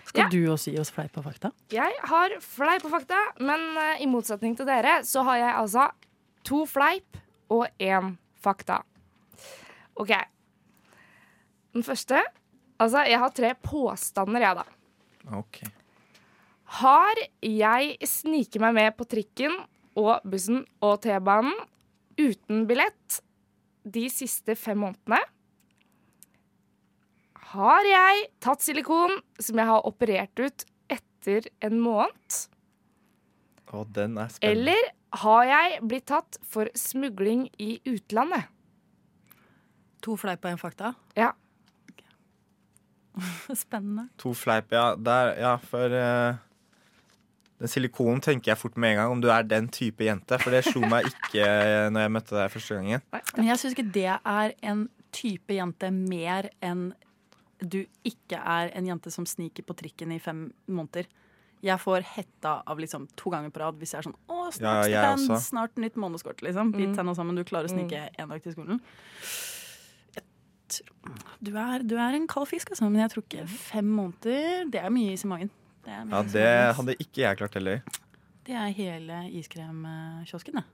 D: Skal
B: Ja.
D: du også gi oss fleip og fakta?
B: Jeg har fleip og fakta, men eh, i motsetning til dere så har jeg altså to fleip og én fakta. OK. Den første Altså, jeg har tre påstander, jeg, da.
C: Ok.
B: Har jeg sniket meg med på trikken og bussen og T-banen uten billett de siste fem månedene? Har jeg tatt silikon som jeg har operert ut etter en måned?
C: Å, den er spennende.
B: Eller har jeg blitt tatt for smugling i utlandet?
D: To fleip og én fakta?
B: Ja.
D: Spennende.
C: To fleip, ja. Der, ja, for eh, Den silikonen tenker jeg fort med en gang, om du er den type jente. For det slo meg ikke eh, når jeg møtte deg første gangen.
D: Men jeg syns ikke det er en type jente mer enn du ikke er en jente som sniker på trikken i fem måneder. Jeg får hetta av liksom to ganger på rad hvis jeg er sånn Å,
C: Ja,
D: snart
C: jeg
D: stipend,
C: også. Mm.
D: snart nytt månedskort, liksom. Bit tenna sammen, du klarer å snike én dag til skolen. Jeg tror- Du er, du er en kald fisk, altså, men jeg tror ikke fem måneder Det er mye is i magen. Det er, mye
C: Ja,
D: is i
C: Det
D: magen, ass.
C: hadde ikke jeg klart heller.
D: det er hele iskremkiosken, det.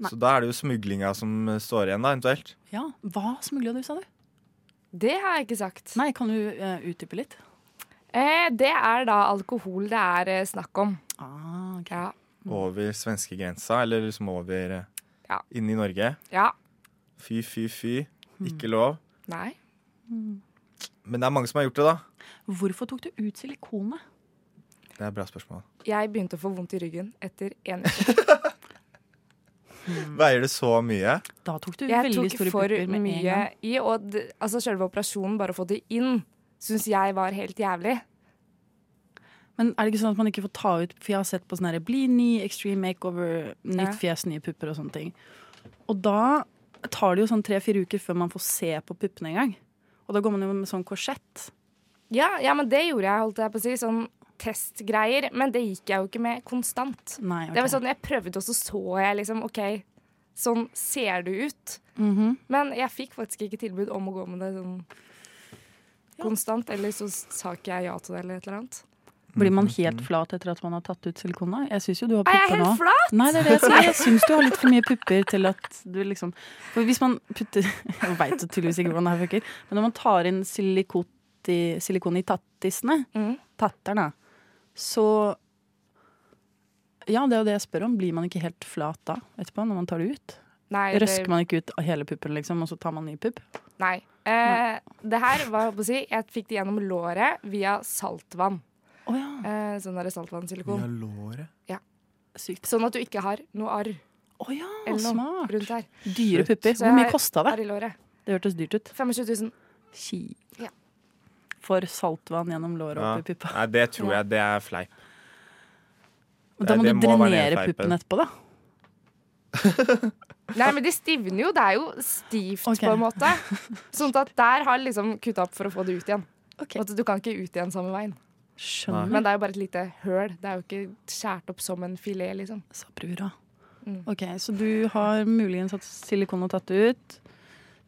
D: Nei.
C: Så da er det jo smuglinga som eh, står igjen, da, eventuelt.
D: Ja. Hva smugla du, sa du?
B: Det har jeg ikke sagt.
D: Nei, kan du eh, utdype litt?
B: Eh, det er da alkohol det er eh, snakk om.
D: Ah, ok.
B: Ja.
C: Over svenskegrensa, eller liksom over eh,
B: Ja.
C: inn i Norge.
B: ja.
C: Fy, fy, fy.
D: Mm.
C: Ikke lov.
B: Nei.
C: Men det er mange som har gjort det, da.
D: Hvorfor tok du ut silikonet?
C: Det er et bra spørsmål.
B: Jeg begynte å få vondt i ryggen etter en uke.
C: Veier det så mye?
D: Da tok du
B: Jeg
D: veldig
B: tok
D: store
B: for
D: pupper med en
B: mye
D: gang.
B: i, og d- altså selve operasjonen, bare å få det inn, syns jeg var helt jævlig.
D: Men er det ikke sånn at man ikke får ta ut For jeg har sett på sånn her Bli ny, extreme makeover, nytt fjes, nye pupper og sånne ting. Og da tar det jo sånn tre-fire uker før man får se på puppene en gang. Og da går man jo med sånn korsett.
B: Ja, ja, men det gjorde jeg, holdt jeg på å si. Sånn testgreier. Men det gikk jeg jo ikke med konstant.
D: Nei, ok.
B: Det var sånn, Jeg prøvde, og så så jeg liksom OK, sånn ser du ut.
D: Mhm.
B: Men jeg fikk faktisk ikke tilbud om å gå med det sånn konstant. Eller så sa ikke jeg ja til det, eller et eller annet.
D: Blir man helt flat etter at man har tatt ut silikona? Jeg syns jo du har
B: Er jeg
D: pupper nå.
B: helt flat?
D: Nei, det er det jeg sier. Jeg syns du har litt for mye pupper til at du liksom For hvis man putter Jeg veit tydeligvis ikke hvordan det her funker, men når man tar inn silikot i, silikon i tattisene,
B: Mm.
D: tatterne, så Ja, det er jo det jeg spør om. Blir man ikke helt flat da, etterpå, når man tar det ut?
B: Nei, det,
D: Røsker man ikke ut av hele puppen, liksom, og så tar man ny pupp?
B: nei. Eh, det her var jeg på å si Jeg fikk det gjennom låret via saltvann.
D: Å ja.
B: Eh, sånn der saltvannssilikon.
C: låret.
D: Sykt.
B: Sånn at du ikke har noe arr
D: Å ja,
B: eller noe
D: smart.
B: rundt her.
D: Dyre pupper.
B: Så jeg
D: Hvor mye
B: har-
D: kosta det?
B: Arr i låret.
D: Det hørtes dyrt ut.
B: 25 000.
D: Ski.
B: Ja.
D: For saltvann gjennom låret
C: Ja.
D: opp i puppa.
C: Nei, det tror jeg det er fleip.
D: Og da må
C: det
D: du
C: må være
D: drenere
C: nedfleipen.
D: puppen etterpå, da.
B: Nei, men de stivner jo. Det er jo stivt,
D: Ok.
B: på en måte. Sånn at der har liksom kutta opp for å få det ut igjen.
D: Ok. Mm.
B: Og at Altså, du kan ikke ut igjen samme veien.
D: Skjønner.
B: Men det er jo bare et lite høl. Det er jo ikke skjært opp som en filet, liksom.
D: Sa brura.
B: Mm.
D: Ok, Så du har muligens hatt silikon og tatt det ut.
C: Mm.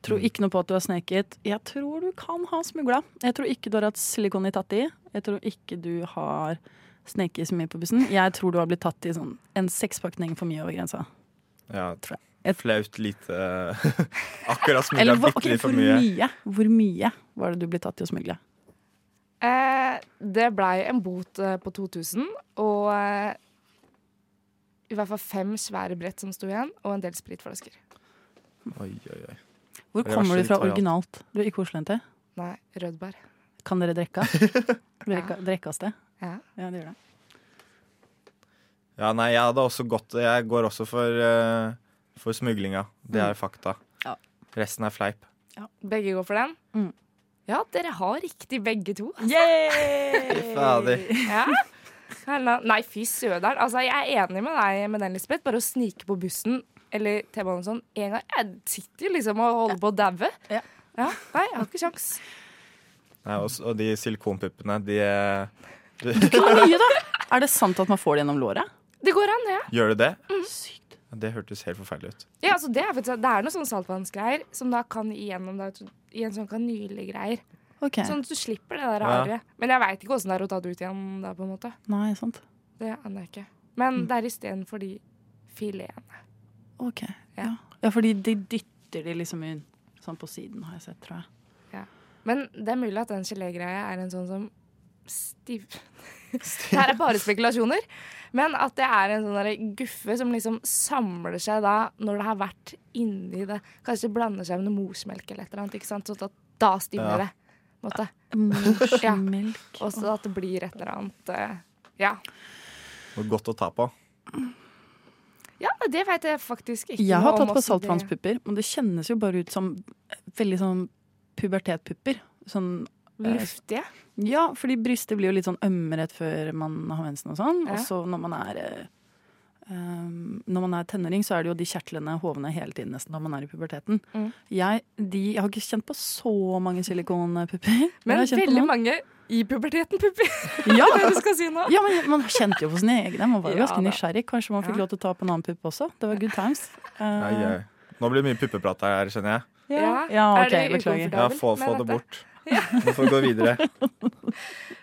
D: Tror ikke noe på at du har sneket. Jeg tror du kan ha smugla. Jeg tror ikke du har hatt silikon i tatt i. Jeg tror ikke du har sneket så mye på bussen. Jeg tror du har blitt tatt i sånn en sekspakning for mye over grensa.
C: Ja,
D: Tror
C: Et flaut lite Akkurat smugla
D: Eller hvor,
C: bitte
D: ok,
C: litt for
D: hvor
C: mye.
D: mye? Hvor mye var det du ble tatt i å smugle?
B: Eh, det blei en bot eh, på 2000, og eh, i hvert fall fem svære brett som sto igjen, og en del spritflasker.
C: Oi, oi, oi.
D: Hvor
C: Det er
D: kommer du
C: verste
D: fra
C: litt variant.
D: originalt? Du er ikke oslojente?
B: Nei, rødbær.
D: Kan dere drikke? Dere drikke av sted?
B: Ja.
D: Ja, det gjør det.
C: Ja, nei, jeg hadde også gått Jeg går også for, eh, for smuglinga. Det er fakta.
D: Ja.
C: Resten er fleip.
B: Begge går for den?
D: Mm.
B: Ja, dere har riktig begge to.
C: Fader.
B: Ja. Hella- Nei, fy søderen. Altså, jeg er enig med deg med den, Lisbeth. Bare å snike på bussen eller T-banen og sånn en gang Jeg sitter jo liksom og holder på å daue.
D: Ja.
B: Ja, nei, jeg har ikke kjangs.
C: Nei, og, og de silikonpuppene, de eh,
D: Hvor mye, da? Er det sant at man får det gjennom låret?
B: Det går an, det. Ja.
C: Gjør du det?
B: Mm.
D: Sykt.
C: Ja, Det hørtes helt forferdelig ut.
B: Ja, altså, det, er faktisk, det er noen sånne saltvannsgreier som da kan igjennom deg i en sånn kanylegreier.
D: Ok,
B: Sånn at du slipper det der
C: Ja.
B: arret. Men jeg veit ikke åssen det er å ta det ut igjen da, på en måte.
D: Nei, sant.
B: Det aner jeg ikke. Men det er istedenfor de filetene.
D: Ok.
B: Ja.
D: Ja. ja, fordi de dytter de liksom inn. Sånn på siden, har jeg sett, tror jeg.
B: Men det er mulig at den gelégreia er en sånn som stiv... Her er bare spekulasjoner. Men at det er en sånn der guffe som liksom samler seg da når det har vært inni det. Kanskje det blander seg med noe morsmelk eller et eller annet. ikke sant? Sånn at da stivner
C: Ja.
B: det. på en Måte.
D: Morsmelk.
B: Og så at det blir et eller annet eh, Ja,
C: Og godt å ta på.
B: ja det veit jeg faktisk ikke.
D: Jeg har
B: noe om
D: tatt på
B: også det-
D: saltvannspupper, men det kjennes jo bare ut som veldig sånn pubertetpupper. Sånn
B: Luftige.
D: Ja, fordi brystet blir jo litt sånn ømme rett før man har mensen og sånn.
B: Ja.
D: Og så når man er eh, um, Når man er tenåring, så er det jo de kjertlene hovne hele tiden nesten når man er i puberteten.
B: Mm.
D: Jeg, de, jeg har ikke kjent på så mange silikonpupper. men jeg
B: Men
D: har kjent på
B: veldig
D: noen.
B: mange i puberteten, Puppi.
D: Ja,
B: Det er det du skal si nå.
D: ja, men man kjente jo på sine egne. Man var jo
B: Ja,
D: ganske
B: da.
D: nysgjerrig. Kanskje man fikk
B: Ja.
D: lov til å ta på en annen pupp også. Det var good times. Eh,
C: Ai, ai. Nå blir det mye puppeprat her, skjønner jeg.
D: ja. ja,
B: Er
D: ok,
B: det
D: beklager.
B: ukomfortabelt?
C: Ja, få,
B: vel med
C: få det
B: dette.
C: bort. Nå får vi gå videre.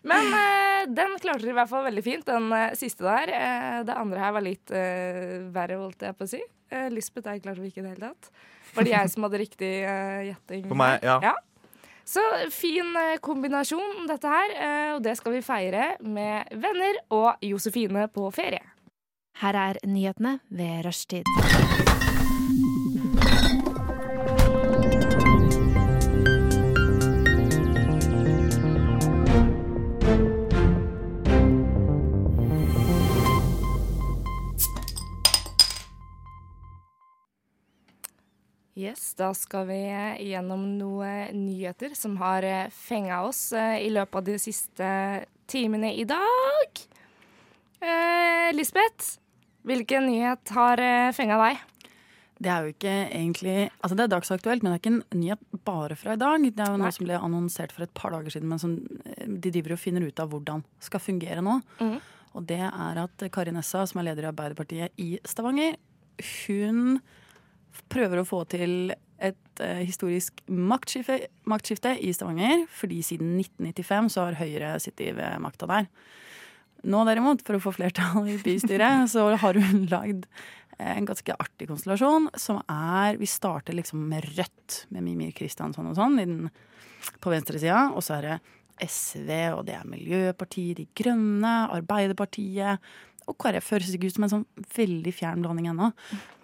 B: Men eh, den klarte dere i hvert fall veldig fint, den eh, siste der. Eh, det andre her var litt eh, verre, holdt jeg på å si. Eh, Lisbeth der klarte vi ikke i det hele tatt. Var det jeg som hadde riktig eh, gjetting?
C: For meg, ja.
B: Så fin eh, kombinasjon, dette her. eh, og det skal vi feire med venner og Josefine på ferie.
I: Her er nyhetene ved rushtid.
B: Yes, Da skal vi eh, gjennom noen nyheter som har eh, fenga oss eh, i løpet av de siste timene i dag. Eh, Lisbeth, hvilken nyhet har eh, fenga deg?
D: Det er jo ikke egentlig Altså det er dagsaktuelt, men det er ikke en nyhet bare fra i dag. Det er jo
B: Nei.
D: noe som ble annonsert for et par dager siden, men som eh, de driver og finner ut av hvordan skal fungere nå.
B: Mhm.
D: Og det er at Kari Nessa, som er leder i Arbeiderpartiet i Stavanger, hun f- prøver å få til et eh, historisk maktskifte, maktskifte i Stavanger. Fordi siden 1995 så har Høyre sittet ved makta der. Nå derimot, for å få flertall i bystyret, så har hun lagd eh, en ganske artig konstellasjon, som er Vi starter liksom med Rødt, med Mimir Kristiansson og sånn, i den, på venstresida. Og så er det SV, og det er Miljøpartiet De Grønne, Arbeiderpartiet og KrF. Høres ikke ut som en sånn veldig fjern blanding ennå.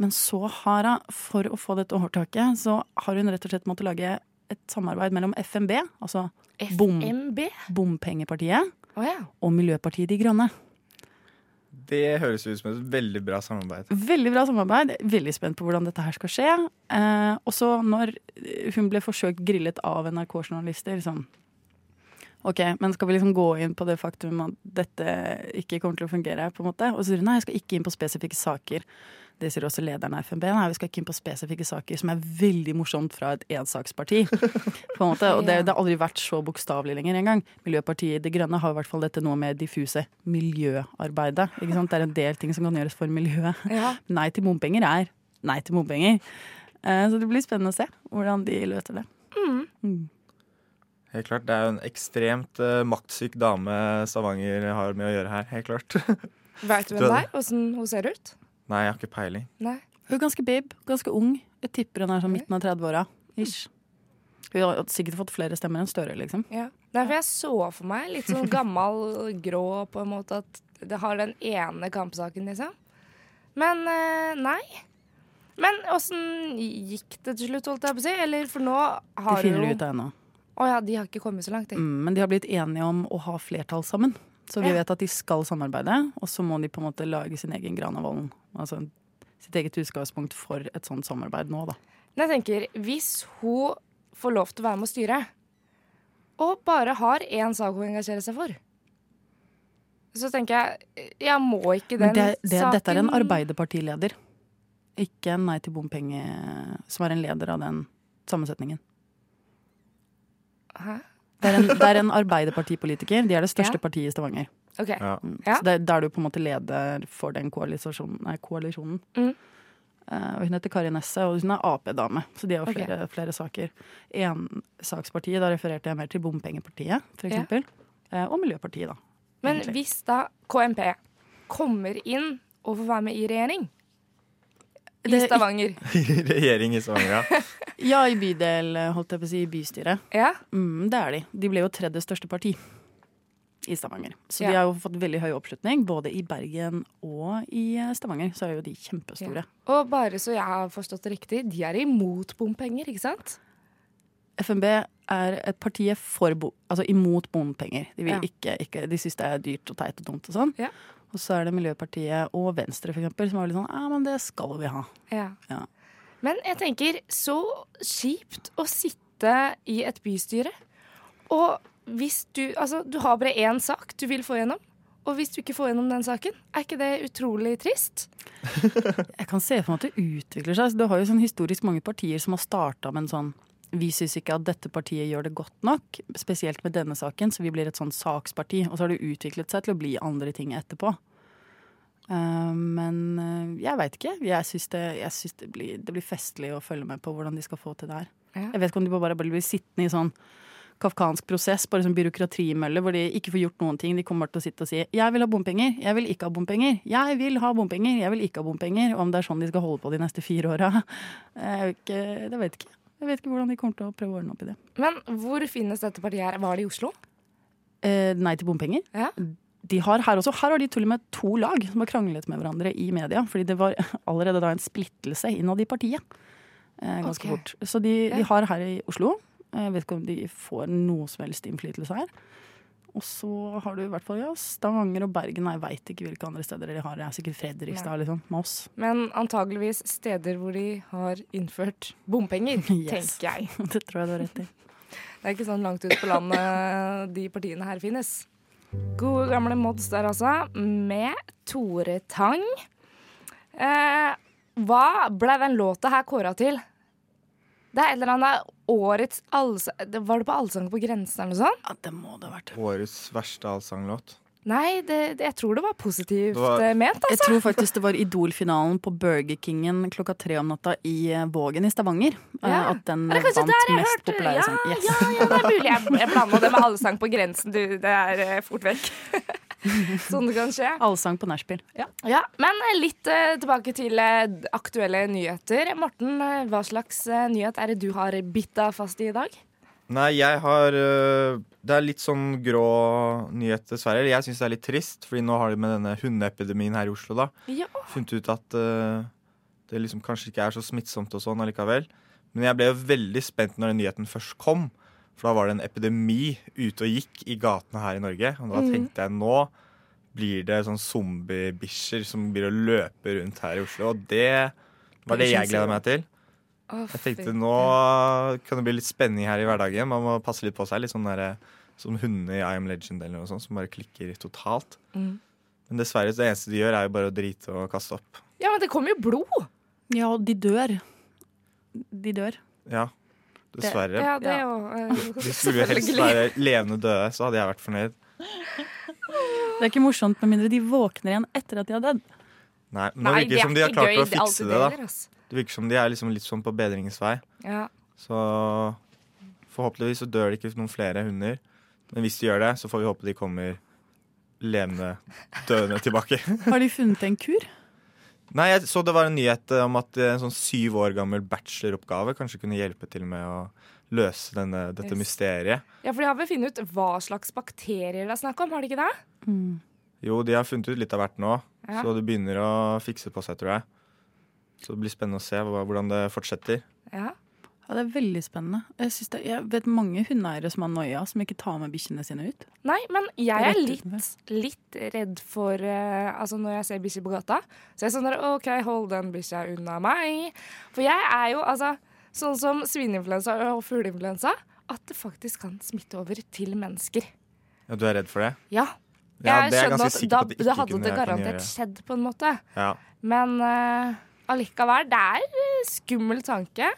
D: Men så har hun, for å få dette overtaket, så har hun rett og slett måttet lage et samarbeid mellom FNB, altså Bom.
B: FMB?
D: Bompengepartiet,
B: Å ja.
D: og Miljøpartiet De Grønne.
C: Det høres ut som et veldig bra samarbeid.
D: Veldig bra samarbeid. Veldig spent på hvordan dette her skal skje. Eh, også når hun ble forsøkt grillet av NRK-journalister, sånn OK, men skal vi liksom gå inn på det faktum at dette ikke kommer til å fungere? på en måte? Og så sier hun nei, jeg skal ikke inn på spesifikke saker. Det sier også lederen av FNB. Nei, vi skal ikke inn på spesifikke saker som er veldig morsomt fra et ensaksparti. på en måte. Og det, det har aldri vært så bokstavelig lenger engang. Miljøpartiet De Grønne har i hvert fall dette noe med diffuse miljøarbeidet. ikke sant? Det er en del ting som kan gjøres for miljøet.
B: ja.
D: Nei til bompenger er nei til bompenger. Eh, Så det blir spennende å se hvordan de løser det.
C: Helt klart, Det er jo en ekstremt eh, maktsyk dame Stavanger har med å gjøre her. helt klart.
B: Veit du hvem det er? Åssen hun ser ut?
C: Nei, jeg har ikke peiling.
B: Nei.
D: Hun er ganske bib, ganske ung. Jeg tipper hun er sånn midten av 30-åra. Ish. Hun har sikkert fått flere stemmer enn Støre, liksom.
B: Ja. Nei, for jeg så for meg litt sånn gammel, grå, på en måte at det har den ene kampsaken, liksom. Men eh, nei. Men åssen gikk det til slutt, holdt jeg på å si? Eller for nå
D: De
B: har
D: finner
B: jo
D: det ut av ennå.
B: Å ja, de har ikke kommet så langt, de.
D: Mm, Men de har blitt enige om å ha flertall sammen. Så vi
B: Ja.
D: vet at de skal samarbeide, og så må de på en måte lage sin egen Granavolden. Altså sitt eget utgangspunkt for et sånt samarbeid nå, da.
B: Men jeg tenker, hvis hun får lov til å være med å styre, og bare har én sak hun engasjerer seg for, så tenker jeg Jeg må ikke den
D: Men det, det,
B: saken
D: dette er en Arbeiderpartileder. Ikke en Nei til bompenge som er en leder av den sammensetningen.
B: Hæ?
D: Det er en, det er en Arbeiderpartipolitiker. De er det største
B: Ja.
D: partiet i Stavanger.
B: Ok.
C: Ja.
B: Ja.
D: Så det, da er du på en måte leder for den koalisasjonen. Nei, koalisjonen.
B: Mm.
D: Eh, og hun heter Kari Nesse, og hun er Ap-dame, så de har
B: Ok.
D: flere, flere saker. Ensakspartiet, da refererte jeg mer til Bompengepartiet, for
B: Ja.
D: eksempel. Eh, og Miljøpartiet, da.
B: Men
D: egentlig.
B: hvis da KMP kommer inn og får være med i regjering i
D: Det er
B: Stavanger
C: Regjering i Stavanger, ja.
D: Ja, i bydel, holdt jeg på å si, i bystyret.
B: Ja,
D: Mm, det er de. De ble jo tredje største parti i Stavanger. Så
B: Ja.
D: de har jo fått veldig høy oppslutning, både i Bergen og i eh, Stavanger. Så er jo de kjempestore.
B: Og bare så jeg har forstått det riktig, de er imot bompenger, ikke sant?
D: FNB er et parti for bo altså imot bompenger. De, vil
B: Ja.
D: ikke, ikke, de syns det er dyrt og teit og dumt og sånn.
B: Ja.
D: Og så er det Miljøpartiet og Venstre for eksempel, som er litt sånn Ja, men det skal vi ha.
B: Ja.
D: Ja.
B: Men jeg tenker, så kjipt å sitte i et bystyre. Og hvis du Altså, du har bare én sak du vil få gjennom. Og hvis du ikke får gjennom den saken, er ikke det utrolig trist?
D: Jeg kan se for meg at det utvikler seg. Så du har jo sånn historisk mange partier som har starta med en sånn vi syns ikke at dette partiet gjør det godt nok, spesielt med denne saken, så vi blir et sånn saksparti. Og så har det utviklet seg til å bli andre ting etterpå. Eh, men eh, jeg veit ikke. Jeg syns, det, jeg syns det, blir, det blir festlig å følge med på hvordan de skal få til det her.
B: Ja.
D: Jeg vet ikke om de bare bare blir sittende i sånn kafkansk prosess, bare sånn byråkratimølle, hvor de ikke får gjort noen ting. De kommer bare til å sitte og si 'jeg vil ha bompenger', 'jeg vil ikke ha bompenger', 'jeg vil ha bompenger', 'jeg vil ikke ha bompenger'. Og om det er sånn de skal holde på de neste fire åra, eh, jeg vet ikke- det vet jeg ikke. Jeg vet ikke hvordan de kommer til å prøve å ordne opp i det.
B: Men hvor finnes dette partiet her? Var det i Oslo?
D: Eh, nei til bompenger.
B: Ja.
D: De har her også, her har de til og med to lag som har kranglet med hverandre i media. Fordi det var allerede da en splittelse innad i partiet. Eh, ganske
B: Ok.
D: fort. Så de,
B: Ja.
D: de har her i Oslo. Jeg vet ikke om de får noe som helst innflytelse her. Og så har du i hvert fall ja, Stavanger og Bergen. Nei, jeg veit ikke hvilke andre steder de har. Det er sikkert Fredrikstad liksom, med oss.
B: Men antageligvis steder hvor de har innført bompenger,
D: Yes.
B: tenker jeg.
D: Det tror jeg du har rett i.
B: Det er ikke sånn langt ut på landet eh, de partiene her finnes. Gode gamle mods der altså, med Tore Tang. Eh, hva ble den låta her kåra til? Det er et eller annet årets allsang... Var det på Allsang på grensen eller noe sånt?
D: Ja, det må det ha vært.
C: Årets verste allsanglåt.
B: Nei, det, det, jeg tror det var positivt
C: Det var-
B: eh, ment,
D: Jeg
B: altså.
D: tror faktisk det var Idol-finalen på Burger Kingen klokka tre om natta i eh, Vågen i Stavanger. eh,
B: Ja.
D: At den
B: Er det
D: eh,
B: kanskje
D: vant
B: der jeg
D: mest
B: hørte-
D: populære sang. Yes.
B: Ja, ja, det er mulig. Jeg, jeg blanda det med Allsang på grensen, du. Det er eh, fort vekk. Sånn det kan skje.
D: Allsang på nachspiel. Ja.
B: Ja, Men litt eh, tilbake til eh, aktuelle nyheter. Morten, eh, hva slags eh, nyhet er det du har bitt deg fast i i dag?
C: Nei, jeg har øh, Det er litt sånn grå nyhet, dessverre. Eller jeg syns det er litt trist, fordi nå har de med denne hundeepidemien her i Oslo, da.
B: Ja.
C: funnet ut at eh, det liksom kanskje ikke er så smittsomt og sånn allikevel. Men jeg ble jo veldig spent når den nyheten først kom. For da var det en epidemi ute og gikk i gatene her i Norge. Og da tenkte jeg nå blir det sånn zombiebikkjer som blir å løpe rundt her i Oslo. Og det var det jeg gleda meg til.
B: Å,
C: Jeg tenkte
B: fy.
C: nå kan det bli litt spenning her i hverdagen. Man må passe litt på seg. Litt sånn der, som hundene i I Am Legend eller noe sånt, som bare klikker totalt.
B: Mm.
C: Men dessverre, det eneste de gjør, er jo bare å drite og kaste opp.
B: Ja, men det kommer jo blod!
D: ja, og de dør. De dør.
C: Ja, dessverre.
B: Ja, det er jo eh,
C: Hvis skulle helst
B: selvfølgelig.
C: være levende døde, så hadde jeg vært fornøyd.
D: Det er ikke morsomt med mindre de våkner igjen etter at de har dødd.
C: Nei, men det virker som de har klart å fikse det. da
B: Altså.
C: Det virker som de er liksom litt sånn på bedringens vei.
B: Ja.
C: Så forhåpentligvis så dør det ikke noen flere hunder. Men hvis de gjør det, så får vi håpe de kommer levende døende tilbake.
D: Har de funnet en kur?
C: Nei, jeg så det var en nyhet eh, om at eh, en sånn syv år gammel bacheloroppgave kanskje kunne hjelpe til med å løse denne, dette
B: Yes.
C: mysteriet.
B: ja, for de har vel funnet ut hva slags bakterier det er snakk om, har de ikke det?
C: Jo, de har funnet ut litt av hvert nå,
B: Ja.
C: så det begynner å fikse på seg, tror jeg. Så det blir spennende å se hva- hvordan det fortsetter.
B: Ja.
D: Ja, Det er veldig spennende. Jeg, synes det, jeg vet mange hundeeiere som har noia, som ikke tar med bikkjene sine ut.
B: Nei, men jeg er
D: Rett
B: litt, litt redd for eh, Altså når jeg ser bikkjer på gata. Så jeg er sånn der, OK, hold den bikkja unna meg. For jeg er jo altså sånn som svineinfluensa og fugleinfluensa. At det faktisk kan smitte over til mennesker.
C: Ja, du er redd for det?
B: Ja.
C: Ja,
B: jeg
C: det er jeg
B: skjønner
C: ganske
B: at
C: sikker
B: da,
C: på at det ikke
B: da hadde
C: kunne-
B: det
C: kan
B: garantert
C: gjøre.
B: skjedd, på en måte.
C: Ja,
B: Men eh, allikevel, det er eh, skummel tanke.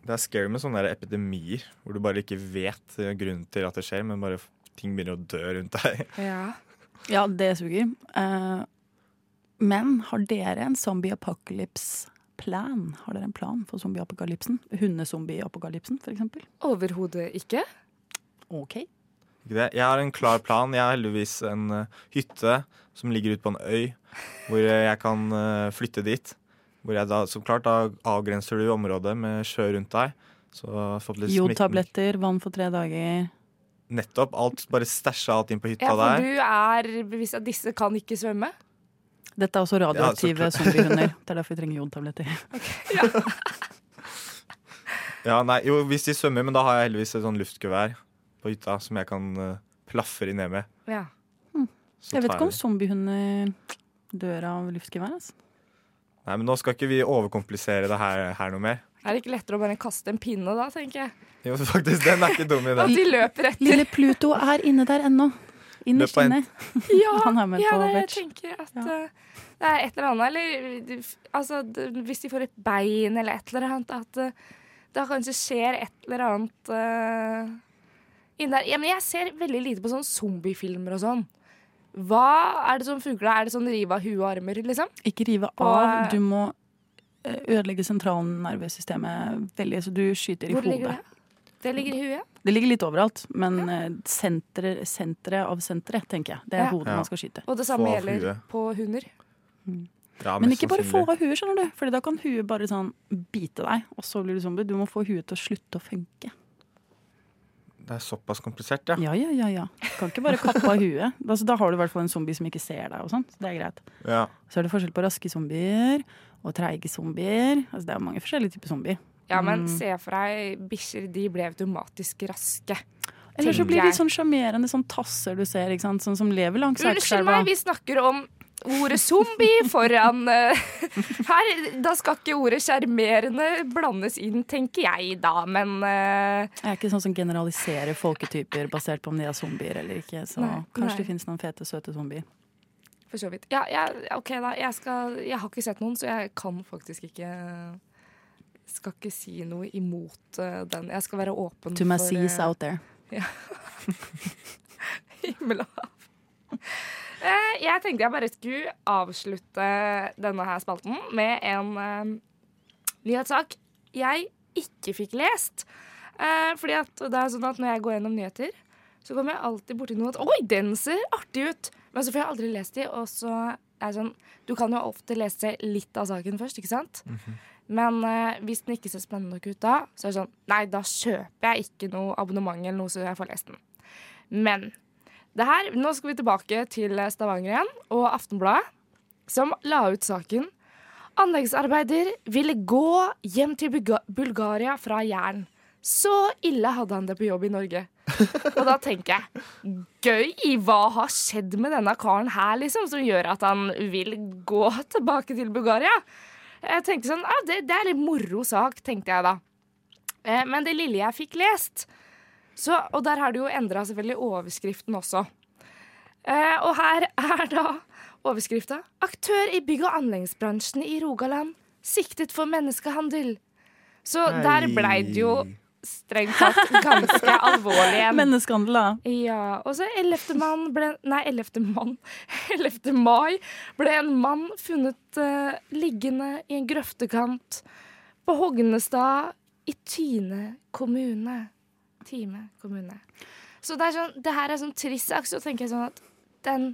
C: Det er scary med sånne der epidemier hvor du bare ikke vet eh, grunnen til at det skjer, men bare f- ting begynner å dø rundt deg.
B: Ja.
D: Ja, det suger. Eh, men har dere en zombie apocalypse-plan? Har dere en plan for zombie-apokalypsen? Hundezombie-apokalypsen, for eksempel?
B: Overhodet ikke.
D: Ok.
C: Ikke det? Jeg har en klar plan. Jeg har heldigvis en eh, hytte som ligger ute på en øy, hvor eh, jeg kan eh, flytte dit. Hvor jeg da, så klart, da avgrenser du området med sjø rundt deg. Så forhåpentligvis smitten-
D: Jodtabletter, vann for tre dager.
C: Nettopp. Alt, bare stæsja alt inn på hytta
B: Ja,
C: der.
B: for du er bevisst at disse kan ikke svømme.
D: Dette er også radioaktive
C: Ja, så klart.
D: zombiehunder. Det er derfor vi trenger jodtabletter.
C: Ja, nei, jo, hvis de svømmer, men da har jeg heldigvis et sånn luftgevær på hytta som jeg kan eh, plaffe de ned med.
B: Ja.
C: Så
D: Jeg vet
C: tar
D: ikke om
C: de.
D: zombiehunder dør av luftgevær. Altså.
C: Nei, men Nå skal ikke vi overkomplisere det her, her noe mer.
B: Er det ikke lettere å bare kaste en pinne da, tenker jeg?
C: Jo, faktisk, Den er ikke dum i
B: At
C: den.
B: de løper etter.
D: Lille Pluto er inne der ennå. Innerst
C: Løp av en-
D: inne.
B: Ja,
D: Han er med
B: ja
D: på
B: det, jeg
D: vert.
B: tenker at
D: Ja.
B: eh, det er et eller annet. Eller de- altså, de- hvis de får et bein eller et eller annet, at eh, da kanskje skjer et eller annet eh, inn der. Ja, men jeg ser veldig lite på sånne zombiefilmer og sånn. Hva er det som funker da? Er det sånn rive av huet og armer, liksom?
D: Ikke rive
B: Og-
D: av. Du må eh, ødelegge sentralnervesystemet veldig, så du skyter i
B: Hvor ligger
D: hodet.
B: det? Det ligger i huet.
D: Det ligger litt overalt, men eh, senteret senteret av senteret, tenker jeg. Det er
B: Ja.
D: hodet
C: Ja.
D: man skal skyte.
B: Og det
C: Få
B: samme
C: av
B: gjelder
C: huet.
B: på hunder.
C: Ja,
D: Men
C: mest
D: ikke bare få
C: sannsynlig.
D: av huet, skjønner du. Fordi da kan huet bare sånn bite deg, og så blir du zombie. Du må få huet til å slutte å funke.
C: Det er såpass komplisert, ja.
D: Ja, ja, ja. ja. Du kan ikke bare kappe av huet. Altså, da har du i hvert fall en zombie som ikke ser deg. og sånt. Så Det er greit.
C: ja.
D: Så er det forskjell på raske zombier og treige zombier. Altså, det er mange forskjellige typer zombier.
B: Ja,
D: Mm.
B: men se for deg bikkjer, de ble automatisk raske.
D: Eller så
B: Tenker
D: blir de
B: jeg.
D: sånn sjarmerende sånn tasser du ser, ikke sant? sånn som lever langs
B: Unnskyld
D: elva.
B: meg, vi snakker om ordet zombie foran eh, her. Da skal ikke ordet sjarmerende blandes inn, tenker jeg da, men eh,
D: Jeg er ikke sånn som generaliserer folketyper basert på om de er zombier eller ikke. Så
B: Nei,
D: kanskje
B: nei.
D: det finnes noen fete, søte
B: Mm,
D: zombier.
B: for så vidt. Ja, jeg, OK, da. Jeg, skal, jeg har ikke sett noen, så jeg kan faktisk ikke skal ikke si noe imot eh, den. Jeg skal være åpen
D: To my
B: for
D: seas
B: eh,
D: out there.
B: himmel og hav. Eh, Jeg tenkte jeg bare skulle avslutte denne her spalten med en eh, nyhetssak jeg ikke fikk lest. Eh, fordi at det er sånn at når jeg går gjennom nyheter, så kommer jeg alltid borti noe at Oi, den ser artig ut! Men så får jeg aldri lest de, og så er det sånn Du kan jo ofte lese litt av saken først, ikke sant? Men eh, hvis den ikke ser spennende nok ut da, så er det sånn Nei, da kjøper jeg ikke noe abonnement eller noe, så jeg får lest den. Men det her Nå skal vi tilbake til Stavanger igjen, og Aftenbladet, som la ut saken. Anleggsarbeider ville gå hjem til Bulga- Bulgaria fra Jæren. Så ille hadde han det på jobb i Norge. Og da tenker jeg gøy! Hva har skjedd med denne karen her, liksom, som gjør at han vil gå tilbake til Bulgaria? Jeg tenkte sånn, ah, det, det er litt moro sak, tenkte jeg da. Eh, men det lille jeg fikk lest så, Og der har det jo endra selvfølgelig overskriften også. Eh, og her er da overskrifta 'Aktør i bygg- og anleggsbransjen i Rogaland siktet for menneskehandel'. Så der blei det jo strengt tatt ganske alvorlig en
H: Menneskehandel, da.
B: ja, og så 11. mann ble Nei, 11. mann. 11. mai ble en mann funnet eh, liggende i en grøftekant på Hognestad i Tyne kommune. Time kommune. Så det er sånn, det her er sånn trist sak, så tenker jeg sånn at den,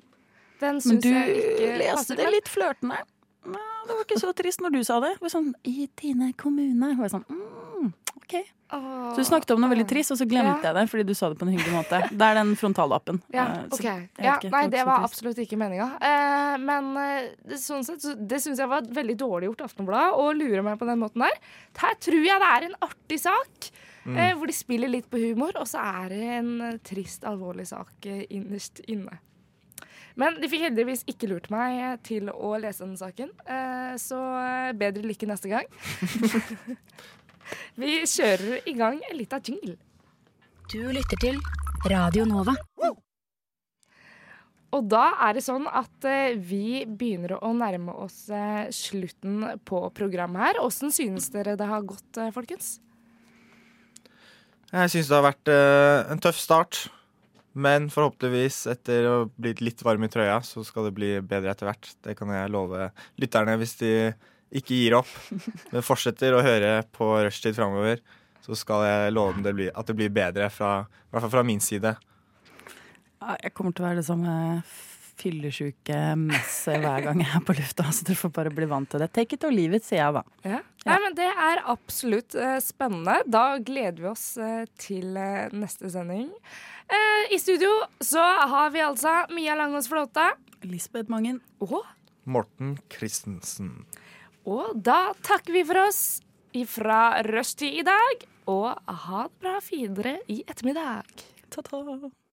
B: den
D: Men
B: syns
D: du
B: jeg ikke
D: leste det
B: men-
D: litt flørtende. Nei, det var ikke så trist når du sa det. det var sånn, I Tine kommune. Jeg var sånn, mm, ok.
B: Åh.
D: Så du snakket om noe veldig trist, og så glemte
B: Ja.
D: jeg det fordi du sa det på en hyggelig måte. Det er den frontalappen.
B: Ja,
D: Eh, så
B: ok.
D: vet
B: Ja,
D: ikke,
B: nei,
D: det
B: det
D: var
B: var
D: ikke
B: absolutt ikke meninga. Eh, men eh, det- sånn sett, så- det syns jeg var veldig dårlig gjort av Aftenbladet å lure meg på den måten der. Her tror jeg det er en artig sak,
D: Mm.
B: eh, hvor de spiller litt på humor, og så er det en eh, trist, alvorlig sak eh, innerst inne. Men de fikk heldigvis ikke lurt meg eh, til å lese den saken, eh, så eh, bedre lykke neste gang. Vi kjører i gang en lita jingle.
F: Du lytter til Radio Nova.
B: Og da er det sånn at eh, vi begynner å nærme oss eh, slutten på programmet her. Åssen synes dere det har gått, eh, folkens?
C: Jeg syns det har vært eh, en tøff start. Men forhåpentligvis, etter å bli litt varm i trøya, så skal det bli bedre etter hvert. Det kan jeg love lytterne hvis de ikke gir opp, men fortsetter å høre på rushtid framover. Så skal jeg love dem det blir, at det blir bedre, fra, i hvert fall fra min side.
D: Ja, Jeg kommer til å være det samme fyllesjuke messet hver gang jeg er på lufta, så dere får bare bli vant til det. Take it or leave it, sier jeg da.
B: Nei, men Det er absolutt eh, spennende. Da gleder vi oss eh, til eh, neste sending. Eh, I studio så har vi altså Mia Langås Flåte.
D: Lisbeth Mangen.
B: Og,
C: Morten Christensen.
B: og da takker vi for oss fra rushtid i dag. Og ha det bra videre i ettermiddag.
D: Ta-ta.